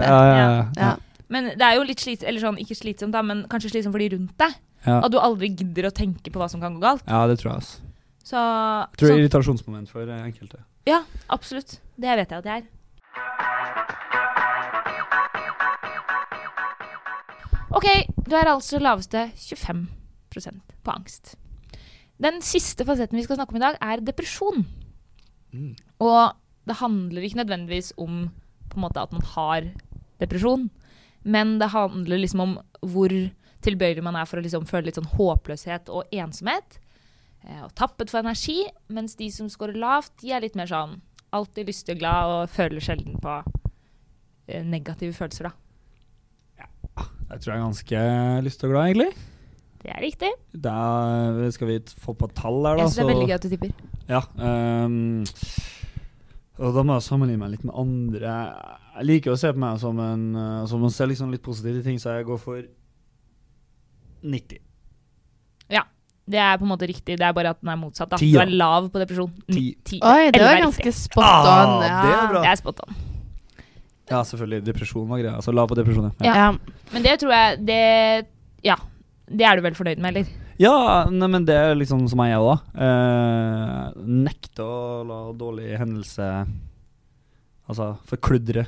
ja, ja, ja, ja.
Ja.
Men det er jo litt slitsomt, eller sånn, ikke slitsomt da, men kanskje slitsomt for de rundt deg.
Ja.
At du aldri gidder å tenke på hva som kan gå galt.
ja, det tror jeg. ass.
Så,
Tror
så
jeg er irritasjonsmoment for eh, enkelte.
ja, absolutt. Det vet jeg at jeg er. Ok, du er altså laveste 25 på angst. Den siste fasetten vi skal snakke om i dag, er depresjon. Og det handler ikke nødvendigvis om på en måte at man har depresjon, men det handler liksom om hvor tilbøyelig man er for å liksom føle litt sånn håpløshet og ensomhet. eh, Og tappet for energi, mens de som scorer lavt, de er litt mer sånn alltid lystig og glad og føler sjelden på eh, negative følelser, da.
Jeg tror jeg er ganske lyst og glad, egentlig.
Det er riktig.
Da eh, skal vi t- få på tall her, da.
Jeg syns det er veldig gøy at du tipper.
Ja. ehm, og da må jeg sammenligne meg litt med andre. Jeg liker å se på meg som en eh, som å se liksom litt positivt i ting, så jeg går for 90.
Det er på en måte riktig, det er bare at den er motsatt, da.
Ti,
Du
ja.
er lav på depresjon.
Ti.
Ti.
Oi, det
Elleve
var
er
ganske
riktig.
spot on.
Ah, det er bra.
Ja.
Det er spot on.
Ja, selvfølgelig. Depresjon var greia. Altså lav på depresjon, ja.
Ja.
Men det tror jeg det, Ja. Det er du vel fornøyd med, eller?
Ja, nei, men det er liksom som jeg er òg. Eh, nekte å la dårlig hendelse Altså forkludre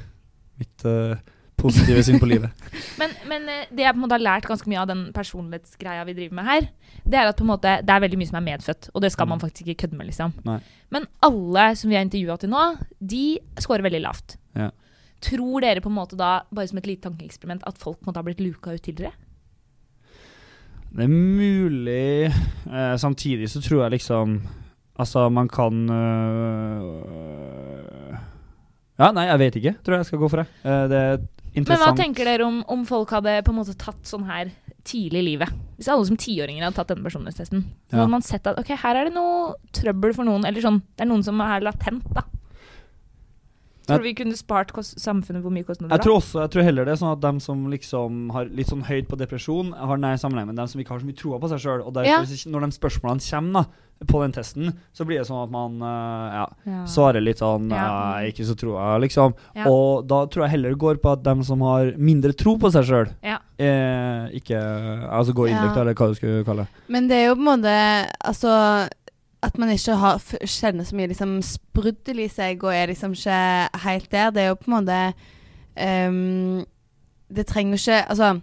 mitt eh, positive syn på
[LAUGHS]
livet.
Men, men eh, det jeg på en måte har lært ganske mye av den personlighetsgreia vi driver med her, det er at på en måte, det er veldig mye som er medfødt, og det skal man
Mm.
faktisk ikke kødde med. liksom.
Nei.
Men alle som vi har intervjua til nå, de scorer veldig lavt.
Ja.
Tror dere på en måte da, bare som et lite tankeeksperiment, at folk på en måte har blitt luka ut tidligere?
Det er mulig. eh, samtidig så tror jeg liksom Altså, man kan eh, Ja, nei, jeg vet ikke. Tror jeg jeg skal gå for det. Eh, det er
Men hva
interessant.
tenker dere om, om folk hadde på en måte tatt sånn her tidlig i livet? Hvis alle som tiåringer hadde tatt denne personlighetstesten, så
Ja.
hadde man sett at ok, her er det noe trøbbel for noen, eller sånn, det er noen som er latent, da. Tror du vi kunne spart kos samfunnet hvor mye kostnader
Jeg tror også, jeg tror heller det er sånn at dem som liksom har litt sånn høyt på depresjon, har nær sammenheng med dem som ikke har så mye troa på seg sjøl. Og
Ja.
derfor, så- når de spørsmålene kommer da, på den testen, så blir det sånn at man eh, ja,
Ah.
Ja.
svarer litt sånn
Ja.
eh, Ikke så troa, liksom.
Ja.
Og da tror jeg heller det går på at dem som har mindre tro på seg sjøl,
Ja.
eh, ikke Altså går
Ja.
innløkt, eller hva du skulle kalle det.
Men det er jo på en måte Altså at man ikke har, f- kjenner så mye liksom, spruddel i seg og er liksom ikke helt der, det er jo på en måte ehm, Det trenger jo ikke Altså,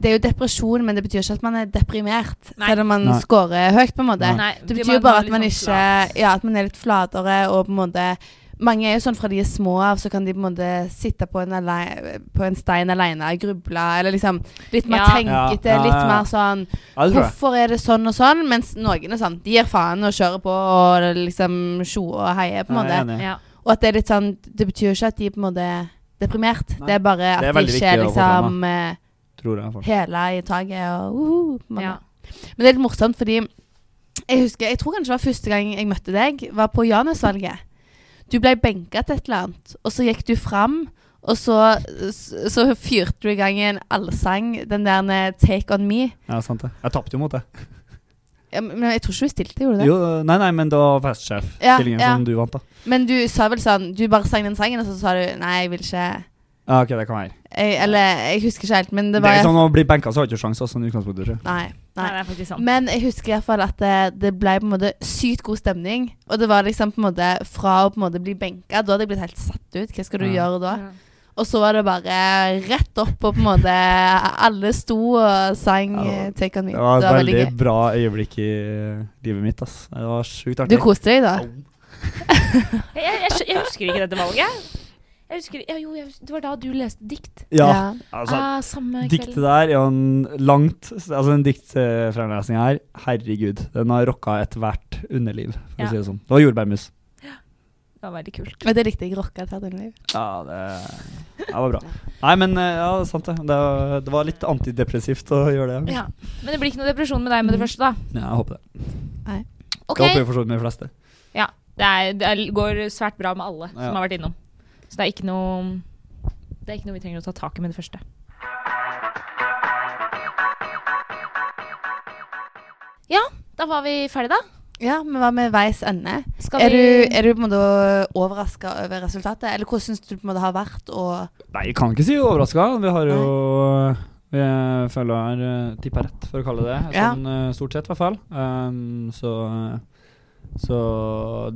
det er jo depresjon, men det betyr ikke at man er deprimert,
Nei.
selv om man
Nei.
scorer høyt, på en måte.
Nei,
Det
blir
betyr jo bare
litt
at man
sånn
ikke
flat.
Ja, at man er litt flatere og på en måte Mange er jo sånn fra de er små av, så kan de på en måte sitte på en, alei- på en stein aleine og gruble, eller liksom Litt mer
Ja.
tenkete,
Ja, ja, ja.
litt mer sånn
Ja, det tror jeg.
Hvorfor er det sånn og sånn? Mens noen er sånn De gir faen og kjører på og liksom tjo og heier, på en
Jeg er
måte.
enig.
Ja.
Og at det er litt sånn Det betyr jo ikke at de på en måte er deprimert.
Nei.
Det er bare at
Det er
de
veldig
ikke er
viktig å få frem,
liksom eh,
Tror jeg. faktisk.
hele i taket og uhu, på en måte.
Ja.
Men det er litt morsomt, fordi jeg husker, jeg tror kanskje det var første gang jeg møtte deg, var på Janusvalget. Du ble benka til et eller annet, og så gikk du fram, og så, så, så fyrte du i gang en allsang, den der med 'Take On Me'.
Ja, sant det. Jeg tapte jo mot det.
Ja, Men jeg tror ikke du stilte, gjorde du det?
Jo, nei, nei, men det var festsjef-stillingen
Ja, ja.
som du vant, da.
Men du sa vel sånn Du bare sang den sangen, og så sa du 'Nei, jeg vil ikke'
Ja, ok, det kan være.
jeg, Eller jeg husker ikke helt, men det
Det,
var
er sånn å bli benka, så har du ikke sjanse, sånn i utgangspunktet. tror jeg.
Nei.
Nei,
Nei.
det er faktisk sant.
Men jeg husker i hvert fall at det, det ble på en måte sykt god stemning. Og det var liksom på en måte fra å på en måte bli benka Da hadde jeg blitt helt satt ut. Hva skal du
Ja.
gjøre da?
Ja.
Og så var det bare rett opp, og på en måte alle sto og sang
Ja,
eh, 'Take On Me'.
Det var et
det var
veldig,
veldig gøy.
bra øyeblikk i eh, livet mitt. Ass. Det var sjukt
Du
artig.
koste deg, da?
Jeg, jeg, skj- jeg husker ikke dette valget. Jeg husker, ja, jo, jeg, hus- det var da du leste dikt.
ja,
Ja.
altså,
ah, samme
diktet
kveld.
der er jo en langt Altså, den diktfremlesninga her, herregud, den har rocka ethvert underliv, for
Ja.
å si det sånn. Det var jordbærmus.
Det var veldig kult.
Og det likte jeg rocka til hele livet.
Ja, det, det
[LAUGHS]
var bra. Nei, men eh, ja, det er sant det. Det var, det var litt antidepressivt å gjøre det.
Ja. Men det blir ikke noe depresjon med deg med det
Mm.
første, da.
Ja, jeg håper det.
Ok,
Det håper jeg for så vidt med de fleste.
det, er, det er, går svært bra med alle
Ja.
som har vært innom. Så det er ikke noe Det er ikke noe vi trenger å ta tak i med det første. Ja, da var vi ferdige, da.
Ja, vi var med veis ende.
Skal
Er du,
vi-
er du på en måte overraska over resultatet, eller hvordan syns du på en måte har vært å
Nei, jeg kan ikke si overraska. Vi har jo Vi eh, føler uh, tippa rett, for å kalle det det.
Ja.
Sånn eh, stort sett, i hvert fall. Um, så Så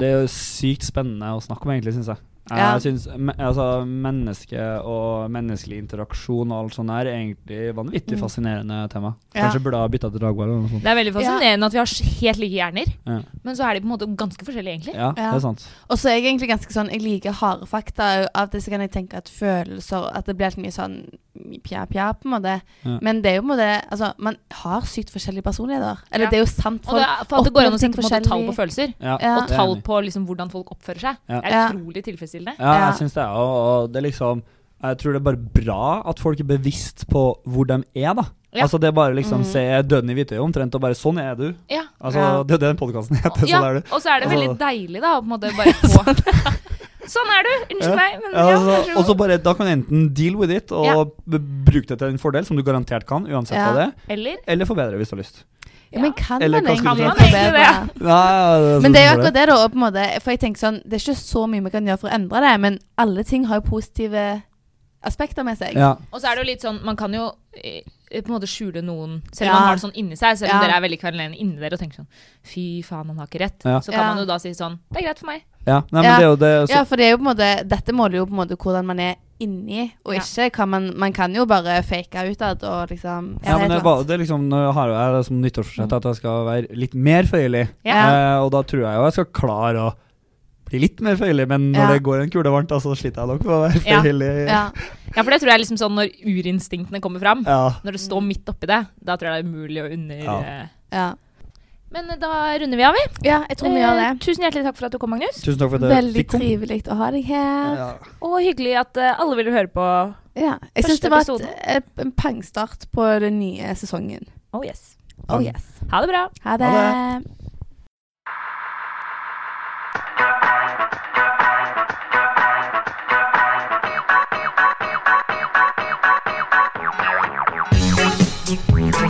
det er jo sykt spennende å snakke om, egentlig, syns jeg. Eh,
Ja.
Jeg synes, me, altså, Menneske og menneskelig interaksjon og alt sånt her er egentlig vanvittig
Mm.
fascinerende tema.
Ja.
Kanskje bladet bytta til Dagbladet eller noe sånt.
Det er veldig fascinerende at vi har helt like hjerner,
Ja.
men så er de på en måte ganske forskjellige, egentlig.
Ja, det
Ja.
er sant.
Og så er jeg egentlig ganske sånn Jeg liker harde fakta. Av det så kan jeg tenke at følelser At det blir helt mye sånn pja-pja, på en måte.
Ja.
Men det er jo på en måte Altså, man har sykt forskjellige personligheter. Eller
Ja.
det er jo sant.
Og det,
Folk
er- for at det går an å
opplever ting
sette på en måte tall på følelser,
forskjellig.
Ja,
Ja.
og
det er jeg
tall
enig i.
på liksom hvordan folk oppfører seg,
Ja.
er
Ja.
utrolig tilfredsstillende.
Ja,
Ja.
jeg syns det er og, og det er liksom Jeg tror det er bare bra at folk er bevisst på hvor de er, da.
Ja.
Altså det er bare liksom
Mhm.
se døden i Hvitøy omtrent, og bare sånn er du.
Ja.
Altså
Ja.
Det er jo det den podkasten heter,
Ja,
[LAUGHS] sånn er du.
og så er det veldig
Altså-
deilig, da, å på en
[LAUGHS]
måte bare få Sånn er du! Unnskyld
Ja.
meg, men
Ja,
ja,
altså,
vær
og
så
så
god.
bare, Da kan du enten deal with it og
Ja.
b- bruke det til en fordel, som du garantert kan, uansett
Ja.
hva det er,
Eller?
eller forbedre hvis du har lyst.
Ja, men kan
Eller
man
hva skulle
egentlig
man si? Kan man
forbedre
egentlig
det?
Nei, ja, det
Men det er jo akkurat det, da. Og på en måte, for jeg tenker sånn, Det er ikke så mye vi kan gjøre for å endre det, men alle ting har jo positive aspekter med seg.
Ja.
Og så er det jo litt sånn, man kan jo eh, på en måte skjule noen, selv om
Ja.
man har det sånn inni seg, selv om
Ja.
dere er veldig kvarulerende inni dere og tenker sånn Fy faen, han har ikke rett.
Ja.
Så kan
Ja.
man jo da si sånn Det er greit for meg.
ja. Nei, men
Ja.
det er jo det så,
Ja, for det er jo på en måte, dette måler jo på en måte hvordan man er inni, og
Ja.
ikke hva man Man kan jo bare fake utad og liksom
ja, men det,
det er Mm.
er
helt
bare- det er liksom, Nå har jeg det som nyttårsforsett at jeg skal være litt mer føyelig.
Ja.
Eh, og da tror jeg jo jeg skal klare å bli litt mer føyelig, men når
Ja.
det går en kule varmt, da, så sliter jeg nok med å være
Ja.
føyelig.
ja.
Ja, for det tror jeg er liksom sånn når urinstinktene kommer fram.
Ja.
Når det står midt oppi det, da tror jeg det er umulig å under...
Ja.
eh.
Ja.
Men eh, da runder vi av, vi.
ja, jeg tror vi gjør det.
Eh, Tusen hjertelig takk for at du kom, Magnus.
Tusen takk for at dere
Veldig
fikk komme.
trivelig å ha deg her.
Ja.
Og hyggelig at eh, alle ville høre på.
Ja. Jeg syns
Første
det var et,
episoden.
et- eh, en pangstart på den nye sesongen.
Oh yes.
Oh yes.
Ha det bra.
Ha det.
Ha
Thank